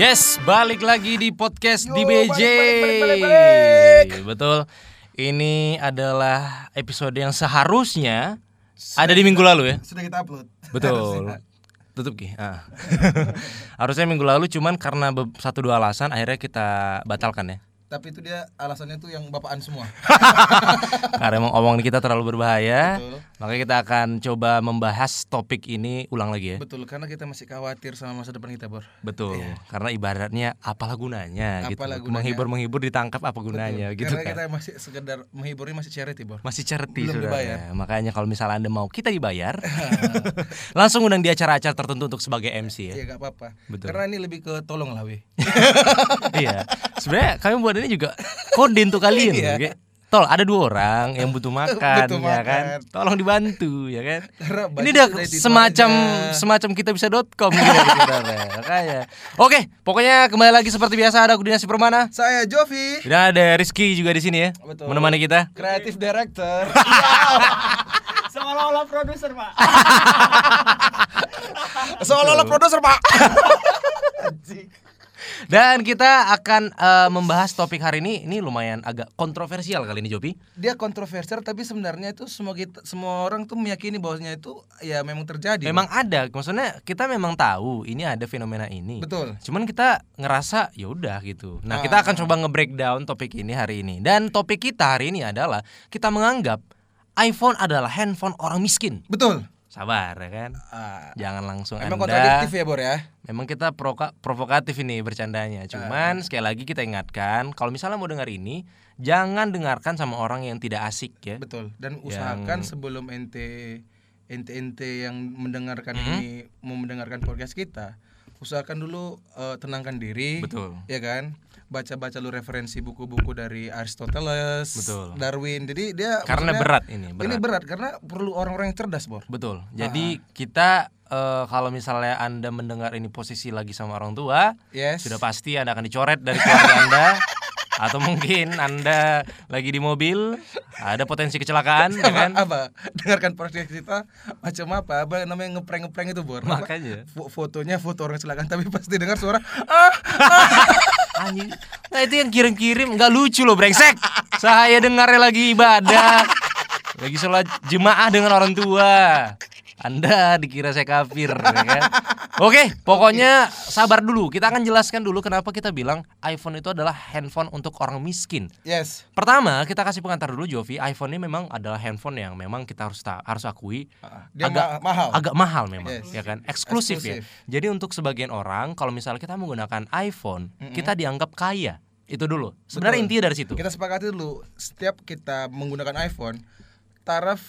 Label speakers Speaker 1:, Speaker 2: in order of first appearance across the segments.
Speaker 1: Yes, balik lagi di podcast
Speaker 2: Yo,
Speaker 1: di BJ.
Speaker 2: balik, balik, balik, balik.
Speaker 1: Betul. Ini adalah episode yang seharusnya ada di minggu lalu ya.
Speaker 2: sudah kita upload.
Speaker 1: Betul.
Speaker 2: Harusnya.
Speaker 1: Tutup Ki. Ah. Harusnya minggu lalu cuman karena be- satu dua alasan akhirnya kita batalkan ya.
Speaker 2: Tapi itu dia alasannya tuh yang bapaan semua.
Speaker 1: Karena emang omongan kita terlalu berbahaya.
Speaker 2: Betul.
Speaker 1: Makanya kita akan coba membahas topik ini ulang lagi ya.
Speaker 2: Betul, karena kita masih khawatir sama masa depan kita, Bor.
Speaker 1: Betul. Karena ibaratnya apalah gunanya gitu.
Speaker 2: Iya. Apalah gunanya.
Speaker 1: Menghibur-menghibur ditangkap apa gunanya
Speaker 2: Betul.
Speaker 1: gitu
Speaker 2: karena
Speaker 1: kan.
Speaker 2: kita masih sekedar menghiburnya masih charity, Bor.
Speaker 1: Masih charity
Speaker 2: Belum
Speaker 1: saudara.
Speaker 2: dibayar.
Speaker 1: Makanya kalau misalnya Anda mau kita dibayar, langsung undang di acara-acara tertentu untuk sebagai MC ya.
Speaker 2: Ya gak apa-apa.
Speaker 1: Betul.
Speaker 2: Karena ini lebih ke tolong lah, we.
Speaker 1: iya. Sebenarnya kami buat ini juga kode untuk kalian.
Speaker 2: Iya.
Speaker 1: oke? Tol, ada dua orang yang butuh makan,
Speaker 2: Butuh
Speaker 1: ya kan?
Speaker 2: makan.
Speaker 1: Tolong dibantu, ya kan?
Speaker 2: Karena
Speaker 1: ini
Speaker 2: budget
Speaker 1: udah
Speaker 2: sudah di
Speaker 1: semacam
Speaker 2: mana.
Speaker 1: semacam kita bisa.com gitu sebenarnya. Makanya. Oke, pokoknya kembali lagi seperti biasa ada aku Dinasi Permana.
Speaker 2: Saya Jovi,
Speaker 1: Dan ada Rizky juga di sini ya.
Speaker 2: Betul.
Speaker 1: Menemani kita.
Speaker 2: kreatif director.
Speaker 3: Seolah-olah produser pak
Speaker 2: Seolah-olah produser, Pak.
Speaker 1: Dan kita akan eh, membahas topik hari ini. Ini lumayan agak kontroversial kali ini, Jopi.
Speaker 2: Dia kontroversial tapi sebenarnya itu semua kita, semua orang tuh meyakini bahwasanya itu ya memang terjadi.
Speaker 1: Memang ada, maksudnya kita memang tahu ini ada fenomena ini.
Speaker 2: Betul. Ah.
Speaker 1: Cuman kita ngerasa ya udah gitu. Nah, kita akan coba nge-breakdown topik ini hari ini. Dan topik kita hari ini adalah kita menganggap iPhone adalah handphone orang miskin.
Speaker 2: Betul.
Speaker 1: Sabar ya kan?
Speaker 2: Ah,
Speaker 1: Jangan langsung
Speaker 2: memang
Speaker 1: Anda.
Speaker 2: kontradiktif ya, Bor ya.
Speaker 1: Memang kita proka- provokatif ini
Speaker 2: Ah.
Speaker 1: bercandanya. Cuman sekali lagi kita ingatkan kalau misalnya mau dengar ini jangan dengarkan sama orang yang tidak asik ya.
Speaker 2: Betul. Dan usahakan sebelum ente ente ente yang mendengarkan
Speaker 1: Mm-hmm.
Speaker 2: ini mau mendengarkan podcast kita, usahakan dulu eh, tenangkan diri.
Speaker 1: Betul.
Speaker 2: Ya kan? Baca-baca lu referensi buku-buku dari Aristoteles,
Speaker 1: Betul.
Speaker 2: Darwin. Jadi dia
Speaker 1: Karena
Speaker 2: maksudnya- iya.
Speaker 1: berat ini,
Speaker 2: Ini
Speaker 1: berat.
Speaker 2: berat karena perlu orang-orang yang cerdas, Bor.
Speaker 1: Betul. Jadi kita eh, kalau misalnya Anda mendengar ini posisi lagi sama orang tua,
Speaker 2: Yes.
Speaker 1: sudah pasti Anda akan dicoret dari keluarga Anda atau mungkin Anda lagi di mobil, ada potensi kecelakaan ya kan?
Speaker 2: apa dengarkan podcast kita macam apa apa namanya ngeprank ngeprank itu bor Apa?
Speaker 1: Makanya.
Speaker 2: Fo- fotonya foto orang silakan tapi pasti dengar suara "Ah!"
Speaker 1: Anjing. Nah itu yang kirim-kirim nggak lucu loh brengsek. Saya dengarnya lagi ibadah. Lagi sholat jemaah dengan orang tua. Anda dikira saya kafir ya kan? Oke, pokoknya sabar dulu. Kita akan jelaskan dulu kenapa kita bilang iPhone itu adalah handphone untuk orang miskin.
Speaker 2: yes
Speaker 1: Pertama, kita kasih pengantar dulu Jovi. iPhone ini memang adalah handphone yang memang kita harus ta- harus akui
Speaker 2: dia
Speaker 1: Agak-
Speaker 2: ma- mahal
Speaker 1: agak mahal memang
Speaker 2: Yes.
Speaker 1: ya kan eksklusif,
Speaker 2: Eksklusif.
Speaker 1: ya jadi untuk sebagian orang kalau misalnya kita menggunakan iPhone kita dianggap kaya itu dulu sebenarnya
Speaker 2: Betul.
Speaker 1: intinya dari situ
Speaker 2: Kita sepakati dulu setiap kita menggunakan iPhone, taraf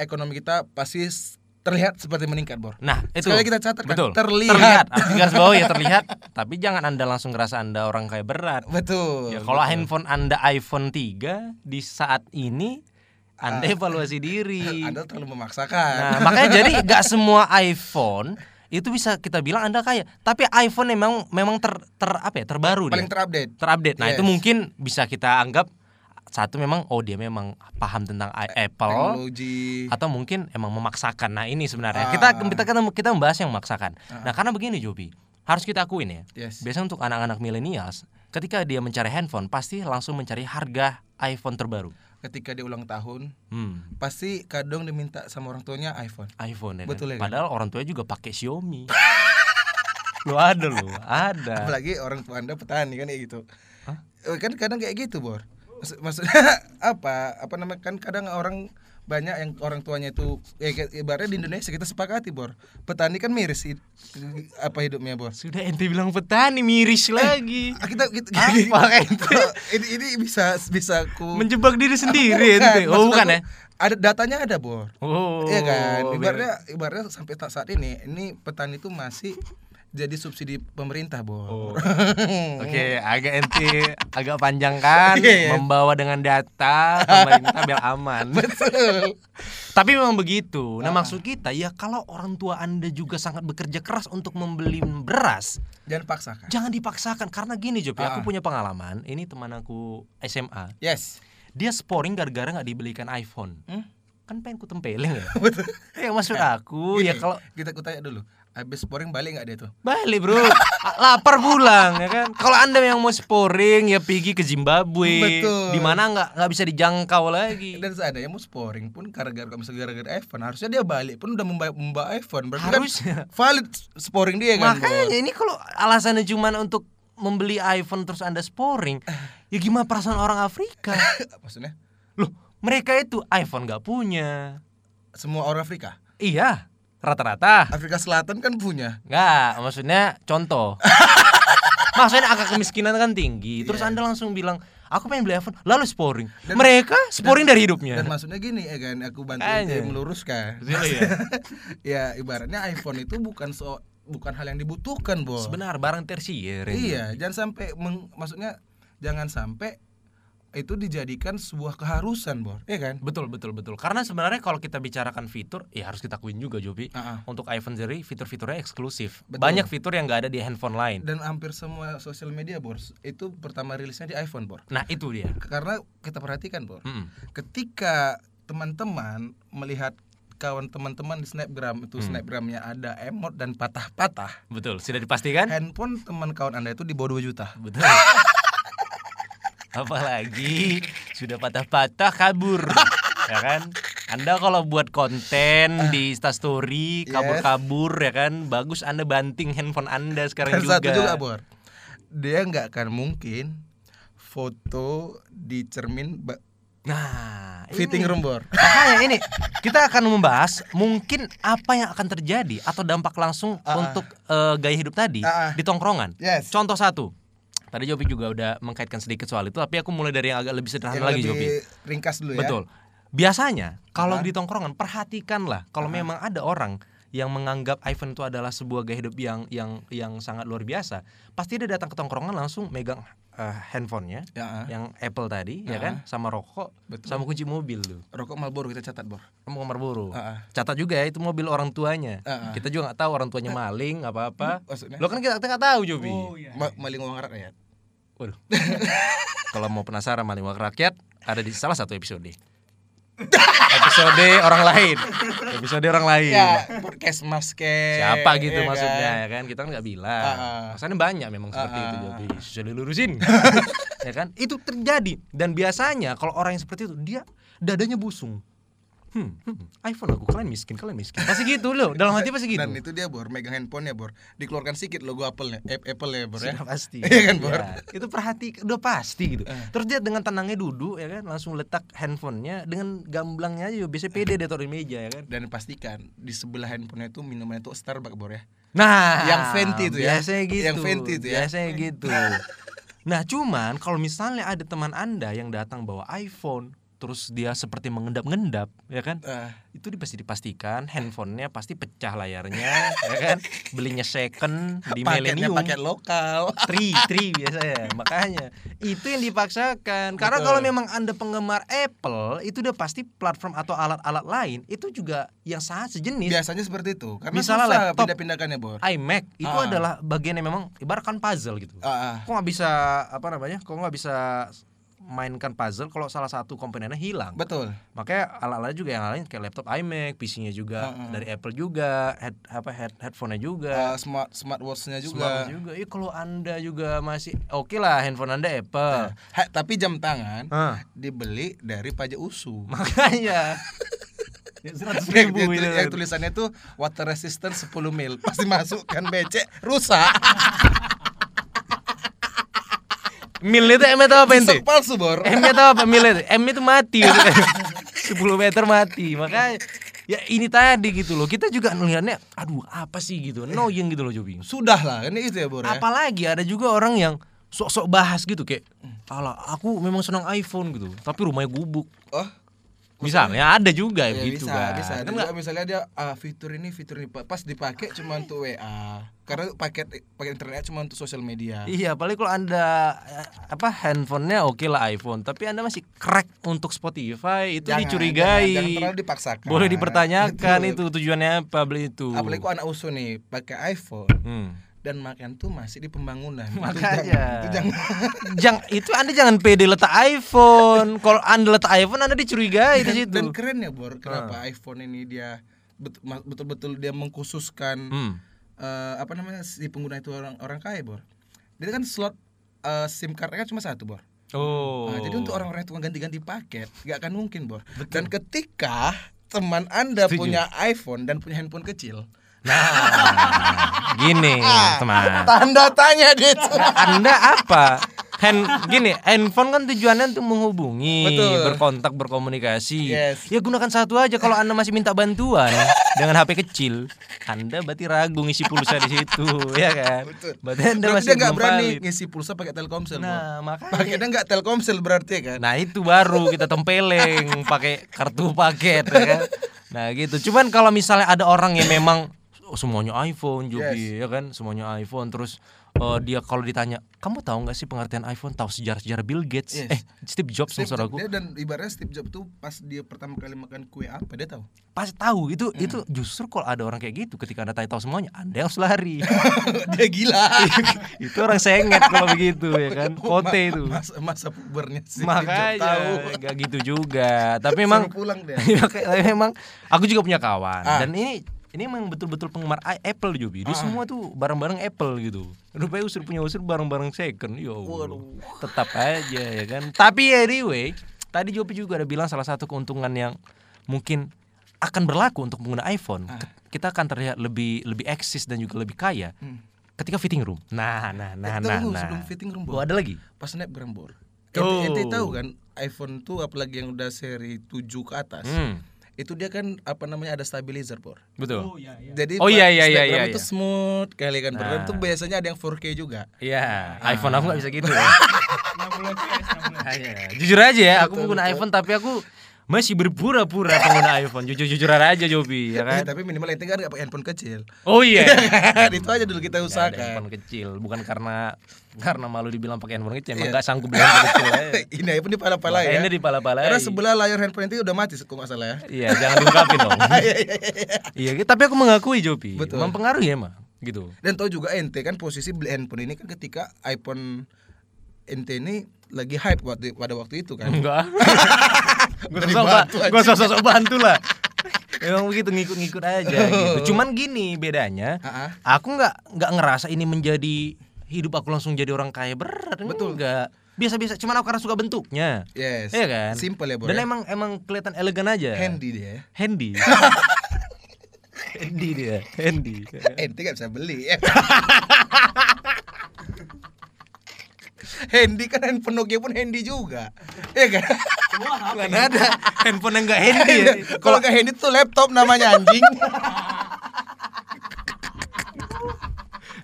Speaker 2: ekonomi kita pasti s- terlihat seperti meningkat, Bor.
Speaker 1: nah itu
Speaker 2: Sekali lagi kita catat kan,
Speaker 1: betul
Speaker 2: terlihat.
Speaker 1: Artinya garis bawah ya terlihat tapi jangan anda langsung ngerasa anda orang kaya berat
Speaker 2: Betul.
Speaker 1: ya, kalau handphone anda iPhone 3 di saat ini anda evaluasi diri
Speaker 2: Ah. Anda terlalu memaksakan.
Speaker 1: Nah, makanya jadi gak semua iPhone itu bisa kita bilang Anda kaya. Tapi iPhone memang memang ter, ter apa ya? terbaru dia.
Speaker 2: Paling terupdate.
Speaker 1: terupdate. Nah,
Speaker 2: Yes.
Speaker 1: itu mungkin bisa kita anggap satu memang oh dia memang paham tentang i- Apple
Speaker 2: Eh, Teknologi.
Speaker 1: atau mungkin emang memaksakan. Nah, ini sebenarnya
Speaker 2: Ah.
Speaker 1: kita kita kita kita membahas yang memaksakan. Nah, karena begini Jobi, harus kita akuin ya.
Speaker 2: Yes.
Speaker 1: Biasanya untuk anak-anak milenials ketika dia mencari handphone pasti langsung mencari harga iPhone terbaru.
Speaker 2: Ketika dia ulang tahun,
Speaker 1: Hmm,
Speaker 2: pasti kadang diminta sama orang tuanya iPhone.
Speaker 1: iPhone ya. kan?
Speaker 2: Betul ya kan?
Speaker 1: Padahal orang tuanya juga pakai Xiaomi. lo ada lo, ada.
Speaker 2: Apalagi orang tua Anda petani kan kayak gitu. Eh, Kan kadang kayak gitu, Bor. Maksud- maksudnya apa? Apa namanya? Kan kadang orang banyak yang orang tuanya itu ya, kayak- ibaratnya di Indonesia kita sepakati, Bor. Petani kan miris hid- apa hidupnya, Bor.
Speaker 1: Sudah ente bilang petani miris lagi.
Speaker 2: Ah, kita kita
Speaker 1: Apa gitu? ente?
Speaker 2: ini ini bisa bisa ku
Speaker 1: Menjebak diri sendiri
Speaker 2: Bukan,
Speaker 1: ente. Oh,
Speaker 2: maksud
Speaker 1: bukan
Speaker 2: aku,
Speaker 1: ya?
Speaker 2: Ada datanya ada, Bor.
Speaker 1: Oh.
Speaker 2: Iya kan?
Speaker 1: biar-
Speaker 2: Ibaratnya ibaratnya sampai tak saat ini ini petani itu masih jadi subsidi
Speaker 1: Oh.
Speaker 2: pemerintah, Bor.
Speaker 1: Oke, agak ente agak panjang kan
Speaker 2: Iya, iya.
Speaker 1: membawa dengan data pemerintah biar aman.
Speaker 2: Betul.
Speaker 1: Tapi memang begitu. Nah,
Speaker 2: Ah.
Speaker 1: maksud kita ya kalau orang tua Anda juga sangat bekerja keras untuk membeli beras,
Speaker 2: Jangan paksakan.
Speaker 1: jangan dipaksakan karena gini, Jopi.
Speaker 2: Ah.
Speaker 1: Aku punya pengalaman, ini teman aku SMA.
Speaker 2: Yes.
Speaker 1: Dia sporing gara-gara nggak dibelikan iPhone.
Speaker 2: Hmm?
Speaker 1: Kan pengen ku tempeleng ya.
Speaker 2: Betul.
Speaker 1: ya maksud aku ya
Speaker 2: Gini,
Speaker 1: kalau
Speaker 2: kita kutanya dulu. Habis sporing balik nggak dia tuh?
Speaker 1: Balik bro, lapar pulang ya kan. Kalau anda yang mau sporing ya pergi ke Zimbabwe,
Speaker 2: Betul.
Speaker 1: di mana nggak nggak bisa dijangkau lagi.
Speaker 2: Dan seandainya mau sporing pun gara-gara kalau misalnya gara-gara iPhone, harusnya dia balik pun udah membawa, membawa iPhone. Berarti kan
Speaker 1: Harusnya.
Speaker 2: valid sporing dia kan.
Speaker 1: Makanya ini kalau alasannya cuma untuk membeli iPhone terus anda sporing, ya gimana perasaan orang Afrika?
Speaker 2: Bor. Maksudnya
Speaker 1: Loh, mereka itu iPhone nggak punya.
Speaker 2: semua orang Afrika.
Speaker 1: Iya, rata-rata
Speaker 2: Afrika Selatan kan punya.
Speaker 1: nggak. Maksudnya contoh. Maksudnya angka kemiskinan kan
Speaker 2: Iya.
Speaker 1: tinggi. Terus anda langsung bilang, aku pengen beli iPhone, lalu sporing. mereka sporing dari hidupnya. Iya.
Speaker 2: Dan iya. maksudnya gini ya kan, aku bantu
Speaker 1: Makanya.
Speaker 2: dia meluruskan.
Speaker 1: Betul ya?
Speaker 2: ya ibaratnya iPhone itu bukan so bukan hal yang dibutuhkan, Bor.
Speaker 1: Sebenarnya barang tersier. ini.
Speaker 2: Iya, jangan sampai meng- maksudnya jangan sampai itu dijadikan sebuah keharusan, Bor. Iya kan?
Speaker 1: Betul betul betul. Karena sebenarnya kalau kita bicarakan fitur, ya harus kita akuin juga Jopi.
Speaker 2: Ah, ah.
Speaker 1: Untuk iPhone sendiri fitur-fiturnya eksklusif.
Speaker 2: Betul.
Speaker 1: Banyak fitur yang nggak ada di handphone lain.
Speaker 2: Dan hampir semua sosial media, Bor, itu pertama rilisnya di iPhone, Bor.
Speaker 1: Nah itu dia.
Speaker 2: Karena kita perhatikan, Bor.
Speaker 1: Mm-mm.
Speaker 2: Ketika teman-teman melihat kawan teman-teman di Snapgram
Speaker 1: Hmm.
Speaker 2: itu Snapgramnya ada emot dan patah-patah
Speaker 1: Betul. Sudah dipastikan.
Speaker 2: handphone teman kawan anda itu di bawah 2 juta
Speaker 1: Betul. Apalagi sudah patah-patah kabur, ya kan? Anda kalau buat konten di Instastory kabur-kabur ya kan, bagus Anda banting handphone Anda
Speaker 2: dan
Speaker 1: sekarang
Speaker 2: satu juga bor dia nggak akan mungkin foto di cermin ba-
Speaker 1: Nah, ini.
Speaker 2: fitting room bor
Speaker 1: Makanya ini kita akan membahas mungkin apa yang akan terjadi atau dampak langsung untuk eh, gaya hidup tadi
Speaker 2: Ah, ah.
Speaker 1: di tongkrongan.
Speaker 2: Yes.
Speaker 1: Contoh satu. Tadi Jopi juga udah mengkaitkan sedikit soal itu, tapi aku mulai dari yang agak lebih sederhana
Speaker 2: yang
Speaker 1: lagi
Speaker 2: lebih
Speaker 1: Jopi.
Speaker 2: ringkas dulu ya
Speaker 1: Betul. Biasanya kalau di tongkrongan perhatikanlah kalau memang ada orang yang menganggap iPhone itu adalah sebuah gaya hidup yang yang yang sangat luar biasa, pasti dia datang ke tongkrongan langsung megang eh, handphonenya
Speaker 2: ya ah.
Speaker 1: yang Apple tadi, ya kan, sama rokok,
Speaker 2: Betul.
Speaker 1: sama kunci mobil tuh.
Speaker 2: rokok Marlboro kita catat bor
Speaker 1: Kamu kamar buru.
Speaker 2: Ah, ah.
Speaker 1: Catat juga ya itu mobil orang tuanya.
Speaker 2: Ah, ah.
Speaker 1: Kita juga nggak tahu orang tuanya maling apa apa.
Speaker 2: Nah. maksudnya? Oh, iya.
Speaker 1: Lo kan kita kita nggak tahu Jobi.
Speaker 2: Ma- maling uang ya. rakyat
Speaker 1: Waduh. Kalau mau penasaran maling wakil rakyat ada di salah satu episode. episode orang lain. Episode orang lain.
Speaker 2: ya podcast masker
Speaker 1: Iya. Siapa gitu
Speaker 2: ya kan?
Speaker 1: maksudnya ya kan kita kan nggak bilang.
Speaker 2: Ah, ah.
Speaker 1: Maksudnya banyak memang seperti itu Jobi. Susah dilurusin. ya kan? Itu terjadi dan biasanya kalau orang yang seperti itu dia dadanya busung. Hmm, hmm, iPhone aku kalian miskin, kalian miskin. Pasti gitu loh, dalam hati pasti gitu.
Speaker 2: dan itu dia bor megang handphone ya bor dikeluarkan sedikit logo Apple Apple ya bor ya
Speaker 1: Sudah pasti.
Speaker 2: Iya kan, Bor? Eh.
Speaker 1: Iya. Itu perhati udah pasti gitu. Terus dia dengan tenangnya duduk ya kan, langsung letak handphonenya dengan gamblangnya aja biasanya pede dia taruh di meja ya kan.
Speaker 2: dan pastikan di sebelah handphone itu minumannya itu Starbucks bor ya
Speaker 1: Nah,
Speaker 2: Yang venti itu ya?
Speaker 1: Biasanya gitu.
Speaker 2: Yang venti itu ya?
Speaker 1: Biasanya gitu. Nah, cuman kalau misalnya ada teman Anda yang datang bawa iPhone, terus dia seperti mengendap-ngendap, ya kan?
Speaker 2: Ah.
Speaker 1: Itu di- pasti dipastikan handphonenya pasti pecah layarnya, ya kan? Belinya second di
Speaker 2: paketnya
Speaker 1: Millennium.
Speaker 2: paket lokal
Speaker 1: tri tri biasanya makanya itu yang dipaksakan karena
Speaker 2: Betul.
Speaker 1: kalau memang anda penggemar Apple itu udah pasti platform atau alat-alat lain itu juga yang sangat sejenis
Speaker 2: biasanya seperti itu karena
Speaker 1: Misalnya
Speaker 2: susah
Speaker 1: laptop.
Speaker 2: pindah-pindahkannya bor
Speaker 1: iMac itu
Speaker 2: Ah.
Speaker 1: adalah bagian yang memang ibaratkan puzzle gitu
Speaker 2: Ah, ah.
Speaker 1: kok nggak bisa apa namanya kok nggak bisa mainkan puzzle kalau salah satu komponennya hilang
Speaker 2: betul
Speaker 1: makanya alat-alat juga yang lain kayak laptop iMac PC-nya juga
Speaker 2: Ah, ah.
Speaker 1: dari Apple juga head apa head headphone-nya juga
Speaker 2: Ah, smart
Speaker 1: Smart
Speaker 2: smartwatchnya juga,
Speaker 1: Iya. juga. Iya kalau anda juga masih oke lah handphone anda Apple.
Speaker 2: Ah. Ha, tapi jam tangan
Speaker 1: Hah.
Speaker 2: dibeli dari pajak usu
Speaker 1: Makanya. Seratus
Speaker 2: yang,
Speaker 1: ribu gitu. itu.
Speaker 2: yang tulis- yang tulisannya tuh water resistant 10 mil pasti masuk kan becek rusak
Speaker 1: Mil itu M itu apa ente?
Speaker 2: Sok palsu bor
Speaker 1: M itu apa mil itu? M itu mati. 10 meter mati. Makanya ya ini tadi gitu loh. Kita juga ngelihatnya aduh apa sih gitu. Annoying gitu loh Jobi.
Speaker 2: sudah lah ini itu ya bor ya
Speaker 1: Apalagi ada juga orang yang sok-sok bahas gitu kayak Alah aku memang senang iPhone gitu Tapi rumahnya gubuk
Speaker 2: oh
Speaker 1: Misalnya ada juga ya,
Speaker 2: Ya,
Speaker 1: gitu
Speaker 2: bisa,
Speaker 1: kan.
Speaker 2: bisa.
Speaker 1: Kan
Speaker 2: Dan
Speaker 1: nggak-
Speaker 2: juga misalnya dia ah, fitur ini fitur ini pas dipakai cuma untuk WA. Karena paket paket internet cuma untuk sosial media.
Speaker 1: Iya, paling kalau anda eh, apa handphonenya oke lah iPhone, tapi anda masih crack untuk Spotify itu dicurigai.
Speaker 2: Jangan, jangan terlalu dipaksakan.
Speaker 1: Boleh dipertanyakan
Speaker 2: Betul.
Speaker 1: itu tujuannya apa beli itu.
Speaker 2: Apalagi kok anak usul nih pakai iPhone
Speaker 1: Hmm.
Speaker 2: dan makan tuh masih di pembangunan. Itu jangan-
Speaker 1: Makanya.
Speaker 2: Itu jangan.
Speaker 1: Jang, itu anda jangan pede letak iPhone. Kalau anda letak iPhone anda dicurigai di situ. Ah.
Speaker 2: Dan keren ya Bor, kenapa iPhone ini dia bet- ma- betul-betul dia mengkhususkan
Speaker 1: Hmm.
Speaker 2: eh, apa namanya si pengguna itu orang orang kaya Bor. Dia kan slot eh, SIM cardnya kan cuma satu Bor.
Speaker 1: Oh.
Speaker 2: Nah, jadi untuk orang-orang yang tukang ganti-ganti paket nggak akan mungkin Bor. Dan ketika teman anda
Speaker 1: Setuju.
Speaker 2: punya iPhone dan punya handphone kecil,
Speaker 1: Nah, gini teman.
Speaker 2: tanda tanya dia itu.
Speaker 1: Nah. Anda apa? Hand, gini, handphone kan tujuannya untuk menghubungi,
Speaker 2: Betul.
Speaker 1: berkontak, berkomunikasi.
Speaker 2: Yes.
Speaker 1: Ya gunakan satu aja kalau Anda masih minta bantuan dengan HP kecil. Anda berarti ragu ngisi pulsa di situ, ya kan?
Speaker 2: Betul.
Speaker 1: Berarti Anda
Speaker 2: Berarti
Speaker 1: masih
Speaker 2: dia nggak
Speaker 1: belum
Speaker 2: berani
Speaker 1: valid.
Speaker 2: ngisi pulsa pakai Telkomsel Bor.
Speaker 1: Nah, makanya
Speaker 2: Pakainya nggak Telkomsel berarti kan.
Speaker 1: Nah itu baru kita tempeleng pakai kartu paket ya kan. Nah gitu. Cuman kalau misalnya ada orang yang memang "Oh, semuanya iPhone juga ya kan, semuanya iPhone terus eh, dia kalau ditanya, "Kamu tahu nggak sih pengertian iPhone? Tahu sejarah-sejarah Bill Gates?"
Speaker 2: Yes.
Speaker 1: Eh, Steve Jobs
Speaker 2: Steve
Speaker 1: maksud
Speaker 2: Jobs,
Speaker 1: aku.
Speaker 2: dia dan ibaratnya Steve Jobs tuh pas dia pertama kali makan kue apa dia tahu
Speaker 1: Pas tahu itu
Speaker 2: Hmm.
Speaker 1: itu justru kalau ada orang kayak gitu ketika Anda tanya tahu semuanya, Anda harus lari.
Speaker 2: dia gila
Speaker 1: itu orang senget kalau begitu ya Iya kan. Kote itu.
Speaker 2: masa, masa pubernya Steve Oh, Jobs
Speaker 1: Makanya
Speaker 2: tahu
Speaker 1: nggak gitu juga. Tapi Nah,
Speaker 2: memang
Speaker 1: memang
Speaker 2: pulang dia
Speaker 1: memang aku juga punya kawan
Speaker 2: Iya, Ah.
Speaker 1: dan ini ini emang betul-betul penggemar i- Apple Jobi. Dia semua tuh barang-barang Apple gitu. Rupanya usir punya usir barang-barang second. Yo.
Speaker 2: Waduh.
Speaker 1: Tetap aja ya kan. Tapi anyway, tadi Jobi juga ada bilang salah satu keuntungan yang mungkin akan berlaku untuk pengguna iPhone.
Speaker 2: Ah.
Speaker 1: Kita akan terlihat lebih lebih eksis dan juga lebih kaya ketika fitting room. Nah, nah, nah, nah,
Speaker 2: Hmm. Eh, Tunggu
Speaker 1: nah.
Speaker 2: sebelum fitting room,
Speaker 1: Oh,
Speaker 2: Bor.
Speaker 1: ada lagi.
Speaker 2: pas snapgram bor
Speaker 1: Oh.
Speaker 2: ente, ente tahu kan iPhone tuh apalagi yang udah seri 7 ke atas
Speaker 1: Hmm.
Speaker 2: itu dia kan apa namanya ada stabilizer bor
Speaker 1: Betul.
Speaker 2: jadi
Speaker 1: Oh,
Speaker 2: pas
Speaker 1: iya, iya, iya,
Speaker 2: snapgram
Speaker 1: iya, Nah.
Speaker 2: itu
Speaker 1: iya.
Speaker 2: smooth kali kan bor Dan tuh biasanya ada yang 4K juga
Speaker 1: Iya, iPhone aku nggak bisa gitu. ya. Iya, Jujur aja ya, aku pengguna iPhone tapi aku masih berpura-pura pengguna iPhone. Jujur-jujuran aja Jobi, ya
Speaker 2: Eh,
Speaker 1: kan?
Speaker 2: tapi minimal ente kan nggak pakai handphone kecil
Speaker 1: Oh iya.
Speaker 2: itu aja dulu kita
Speaker 1: Nggak ada
Speaker 2: usahakan
Speaker 1: handphone kecil, bukan karena karena malu dibilang pakai handphone kecil, emang nggak sanggup beli handphone kecil. eh. aja.
Speaker 2: ini iPhone di pala-pala ya.
Speaker 1: Ini di pala-pala.
Speaker 2: Karena sebelah layar handphone itu udah mati kalau nggak salah ya.
Speaker 1: Iya, jangan diungkapin dong. Iya, tapi aku mengakui Jobi, mempengaruhi emang gitu.
Speaker 2: Dan tau juga ente kan posisi beli handphone ini kan ketika iPhone ente ini lagi hype waktu, pada waktu itu kan.
Speaker 1: Enggak. gue
Speaker 2: Dari
Speaker 1: sosok
Speaker 2: batu
Speaker 1: ba- gua sosok bantu lah. Emang begitu ngikut-ngikut aja
Speaker 2: Oh.
Speaker 1: gitu. Cuman gini bedanya,
Speaker 2: Ah, ah.
Speaker 1: aku nggak nggak ngerasa ini menjadi hidup aku langsung jadi orang kaya berat. Betul nggak? Biasa-biasa. Cuman aku karena suka bentuknya.
Speaker 2: Yes.
Speaker 1: Iya kan?
Speaker 2: Simple ya, Bro.
Speaker 1: Dan emang iya. emang kelihatan elegan aja.
Speaker 2: Handy dia ya.
Speaker 1: Handy. handy dia. Handy.
Speaker 2: Ente nggak Eh, bisa beli. ya. handy kan handphone Nokia pun handy juga. Iya kan?
Speaker 1: Nggak ada handphone yang nggak handy. ya.
Speaker 2: Kalau nggak handy tuh laptop namanya anjing.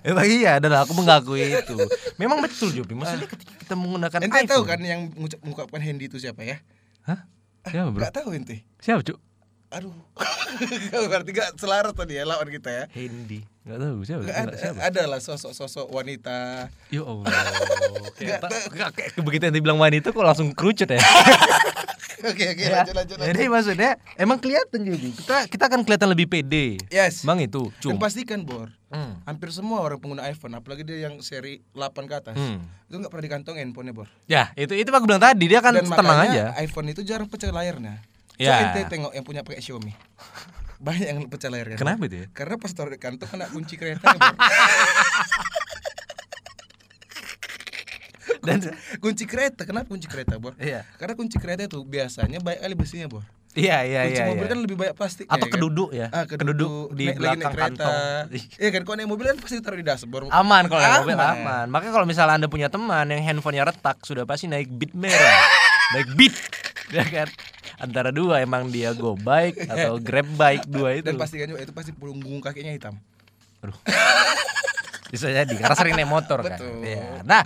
Speaker 1: Emang iya, dan aku mengakui itu. Memang betul Jopi. Maksudnya ketika kita menggunakan
Speaker 2: Ah. ente
Speaker 1: iPhone.
Speaker 2: tahu kan yang mengucap- mengungkapkan handy itu siapa ya?
Speaker 1: Hah? Siapa bro?
Speaker 2: Nggak tahu ente.
Speaker 1: Siapa cuk?
Speaker 2: Aduh. Berarti gak selaras tadi ya lawan kita ya.
Speaker 1: Hendy. Gak tahu siapa.
Speaker 2: Nggak
Speaker 1: Nggak
Speaker 2: ada,
Speaker 1: siapa.
Speaker 2: ada lah sosok-sosok wanita.
Speaker 1: Ya Allah. Kayak tak- kayak- kayak begitu yang dibilang wanita kok langsung kerucut ya.
Speaker 2: Oke oke
Speaker 1: Ya.
Speaker 2: Iya, lanjut lanjut. lanjut.
Speaker 1: Jadi maksudnya emang kelihatan juga kita kita akan kelihatan lebih pede.
Speaker 2: Yes.
Speaker 1: Emang itu. Cuma
Speaker 2: Dan pastikan Bor,
Speaker 1: Hmm.
Speaker 2: hampir semua orang pengguna iPhone, apalagi dia yang seri 8 ke atas,
Speaker 1: Hmm.
Speaker 2: itu nggak pernah dikantongin handphonenya Bor.
Speaker 1: Ya, itu itu aku bilang tadi dia kan
Speaker 2: Dan
Speaker 1: tenang aja.
Speaker 2: makanya iPhone itu jarang pecah layarnya.
Speaker 1: Ya.
Speaker 2: Coba ente tengok yang punya pakai Xiaomi. Banyak yang pecah layarnya. Bor.
Speaker 1: Kenapa itu ya?
Speaker 2: Karena pas taruh di kantong kena kunci kereta Bor.
Speaker 1: Dan
Speaker 2: kunci kereta, kenapa kunci kereta Bor?
Speaker 1: Iya.
Speaker 2: Karena kunci kereta itu biasanya banyak kali besinya Bor.
Speaker 1: iya iya
Speaker 2: Kunci
Speaker 1: iya.
Speaker 2: mobil
Speaker 1: iya.
Speaker 2: kan lebih banyak plastik
Speaker 1: Atau keduduk ya.
Speaker 2: Ah, keduduk,
Speaker 1: di
Speaker 2: naik- lagi naik
Speaker 1: belakang
Speaker 2: kereta.
Speaker 1: kantong.
Speaker 2: Iya kan, kalau naik mobil kan pasti taruh di dashboard.
Speaker 1: Aman kalau naik mobil
Speaker 2: Aman.
Speaker 1: aman. Makanya kalau misalnya Anda punya teman yang handphonenya retak, sudah pasti naik beat merah. naik beat. Ya kan? Antara dua emang dia go bike atau grab bike dua itu.
Speaker 2: Dan pastikan juga itu pasti punggung kakinya hitam.
Speaker 1: Aduh. Bisa jadi karena sering naik motor kan.
Speaker 2: Betul.
Speaker 1: Iya. Nah,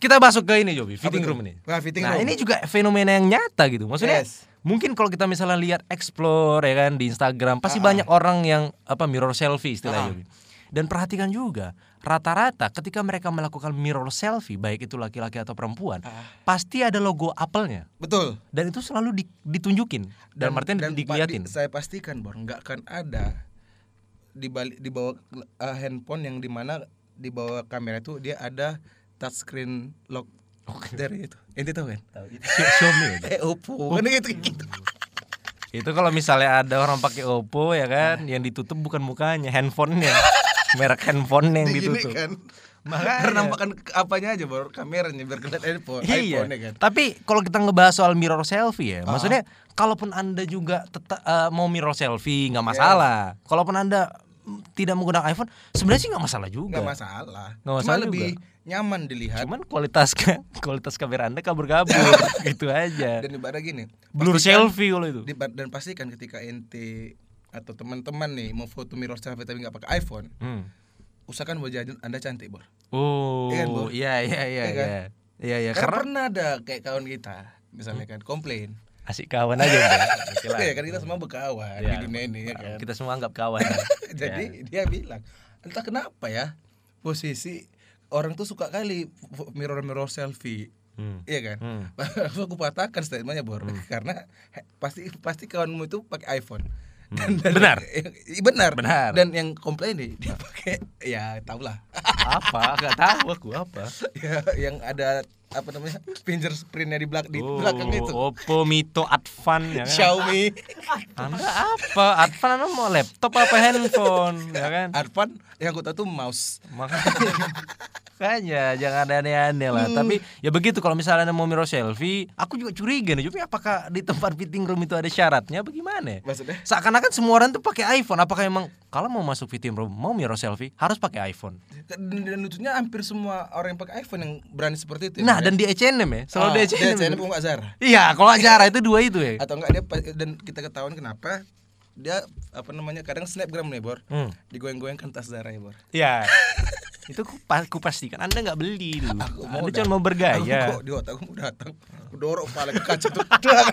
Speaker 1: kita masuk ke ini Jobi, fitting room ini.
Speaker 2: Nah, fitting
Speaker 1: nah,
Speaker 2: room.
Speaker 1: ini juga fenomena yang nyata gitu. Maksudnya
Speaker 2: Yes.
Speaker 1: mungkin kalau kita misalnya lihat explore ya kan di Instagram pasti banyak orang yang apa mirror selfie istilahnya. Bi. Dan perhatikan juga rata-rata ketika mereka melakukan mirror selfie baik itu laki-laki atau perempuan pasti ada logo Apple-nya
Speaker 2: Betul.
Speaker 1: dan itu selalu di- ditunjukin dan, Martin
Speaker 2: dan
Speaker 1: diliatin.
Speaker 2: pa- di- saya pastikan Bor, nggak akan ada di balik di bawah eh, handphone yang dimana di bawah kamera itu dia ada touchscreen lock dari itu. Ente tahu kan?
Speaker 1: Xiaomi. ya?
Speaker 2: Eh Oppo. Kan gitu gitu.
Speaker 1: Itu kalau misalnya ada orang pakai Oppo ya kan,
Speaker 2: Iya.
Speaker 1: yang ditutup bukan mukanya, handphonenya, merek handphone yang
Speaker 2: Digini
Speaker 1: ditutup.
Speaker 2: kan.
Speaker 1: Makanya.
Speaker 2: Penampakan ke- apanya aja Bor, kameranya biar kelihatan handphone,
Speaker 1: Iya.
Speaker 2: iPhone-nya kan. Ah.
Speaker 1: Tapi kalau kita ngebahas soal mirror selfie ya, maksudnya kalaupun anda juga tetap eh, mau mirror selfie
Speaker 2: Iya.
Speaker 1: nggak masalah. Kalaupun anda mm, tidak menggunakan iPhone, sebenarnya sih nggak masalah juga.
Speaker 2: Nggak masalah.
Speaker 1: Iya. Nggak
Speaker 2: Cuma
Speaker 1: masalah
Speaker 2: lebih nyaman dilihat
Speaker 1: Cuman kualitas kualitas kamera anda kabur-kabur gitu aja.
Speaker 2: dan ibarat gini.
Speaker 1: Blur selfie kalau itu.
Speaker 2: Di- dan pastikan ketika ente atau teman-teman nih mau foto mirror selfie tapi nggak pakai iPhone
Speaker 1: Hmm.
Speaker 2: usahakan wajah anda cantik bor
Speaker 1: Oh,
Speaker 2: Iya kan, Bro?
Speaker 1: iya iya iya
Speaker 2: Iya kan?
Speaker 1: iya. Iya iya
Speaker 2: karena
Speaker 1: karena
Speaker 2: pernah ada kayak kawan kita misalnya kan komplain
Speaker 1: asik kawan aja Bro. Oke Iya lah.
Speaker 2: ya kan kita semua berkawan
Speaker 1: Iya.
Speaker 2: di dunia ini ya kan
Speaker 1: Kita semua anggap kawan.
Speaker 2: jadi dia bilang entah kenapa ya posisi orang tuh suka kali mirror mirror selfie
Speaker 1: Hmm.
Speaker 2: Iya kan?
Speaker 1: Hmm.
Speaker 2: Langsung aku patahkan statementnya Bor Karena he- pasti pasti kawanmu itu pakai iPhone Dan-
Speaker 1: Hmm.
Speaker 2: dan-
Speaker 1: Benar.
Speaker 2: Iya, benar.
Speaker 1: Benar.
Speaker 2: Dan yang komplain nih dia pakai ya tau lah.
Speaker 1: apa? Gak tahu aku apa.
Speaker 2: ya, yang ada apa namanya fingerprintnya di belak di
Speaker 1: Oh,
Speaker 2: belakang itu.
Speaker 1: Oppo Mito Advan ya kan.
Speaker 2: Xiaomi.
Speaker 1: Anda apa? Advan Anda mau laptop apa handphone ya kan?
Speaker 2: Arfan yang aku tahu tuh mouse.
Speaker 1: Makanya makanya jangan ada aneh-aneh lah. Tapi ya begitu kalau misalnya Anda mau mirror selfie, aku juga curiga nih. Cumi apakah di tempat fitting room itu ada syaratnya apa gimana?
Speaker 2: Maksudnya?
Speaker 1: Seakan-akan semua orang tuh pakai iPhone. Apakah emang kalau mau masuk fitting room, mau mirror selfie harus pakai iPhone?
Speaker 2: Dan, dan lucunya hampir semua orang yang pakai iPhone yang berani seperti itu. ya,
Speaker 1: Nah,
Speaker 2: Bor, ya.
Speaker 1: dan di H&M ya, selalu
Speaker 2: Ah,
Speaker 1: di
Speaker 2: dia
Speaker 1: H&M.
Speaker 2: H&M enggak Zara.
Speaker 1: Iya, kalau acara itu dua itu ya.
Speaker 2: atau enggak dia pa- dan kita ketahuan kenapa dia apa namanya kadang snapgram nih bor
Speaker 1: Hmm.
Speaker 2: digoyang-goyangkan tas darah ya bor
Speaker 1: Iya. itu ku, pa- ku pastikan Anda nggak beli dulu.
Speaker 2: Aku mau
Speaker 1: anda
Speaker 2: dah.
Speaker 1: cuma mau bergaya.
Speaker 2: aku kok di otak aku mau datang aku dorok kepala ke kaca tuh Dang.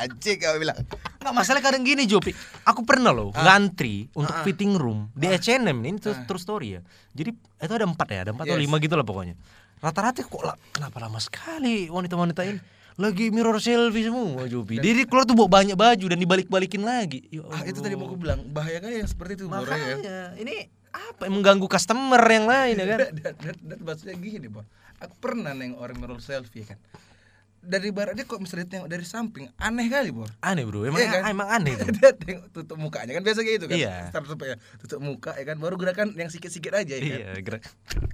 Speaker 2: anjing kau bilang
Speaker 1: Nggak masalah kadang gini Jopi. Aku pernah loh
Speaker 2: Ah.
Speaker 1: ngantri untuk fitting room di H&M ini itu true story ya. Jadi itu ada empat ya, ada empat atau
Speaker 2: Yes.
Speaker 1: lima gitu lah pokoknya. Rata-rata kok la- kenapa lama sekali wanita-wanita ini lagi mirror selfie semua Jopi. Jadi keluar tuh bawa banyak baju dan dibalik-balikin lagi. Ya
Speaker 2: ah
Speaker 1: Allah.
Speaker 2: itu tadi mau aku bilang bahaya kan yang seperti itu bor ya
Speaker 1: Makanya ini apa mengganggu customer yang lain ya kan?
Speaker 2: dan, dan, dan, dan maksudnya gini bor aku pernah neng orang mirror selfie kan dari barat dia kok misalnya tengok dari samping aneh kali bor
Speaker 1: Aneh bro, emang
Speaker 2: Iya kan?
Speaker 1: emang aneh itu.
Speaker 2: dia tengok tutup mukanya kan biasa kayak gitu kan
Speaker 1: Iya.
Speaker 2: Start tutup ya tutup muka ya kan baru gerakan yang sikit-sikit aja ya kan
Speaker 1: Iya, gerak.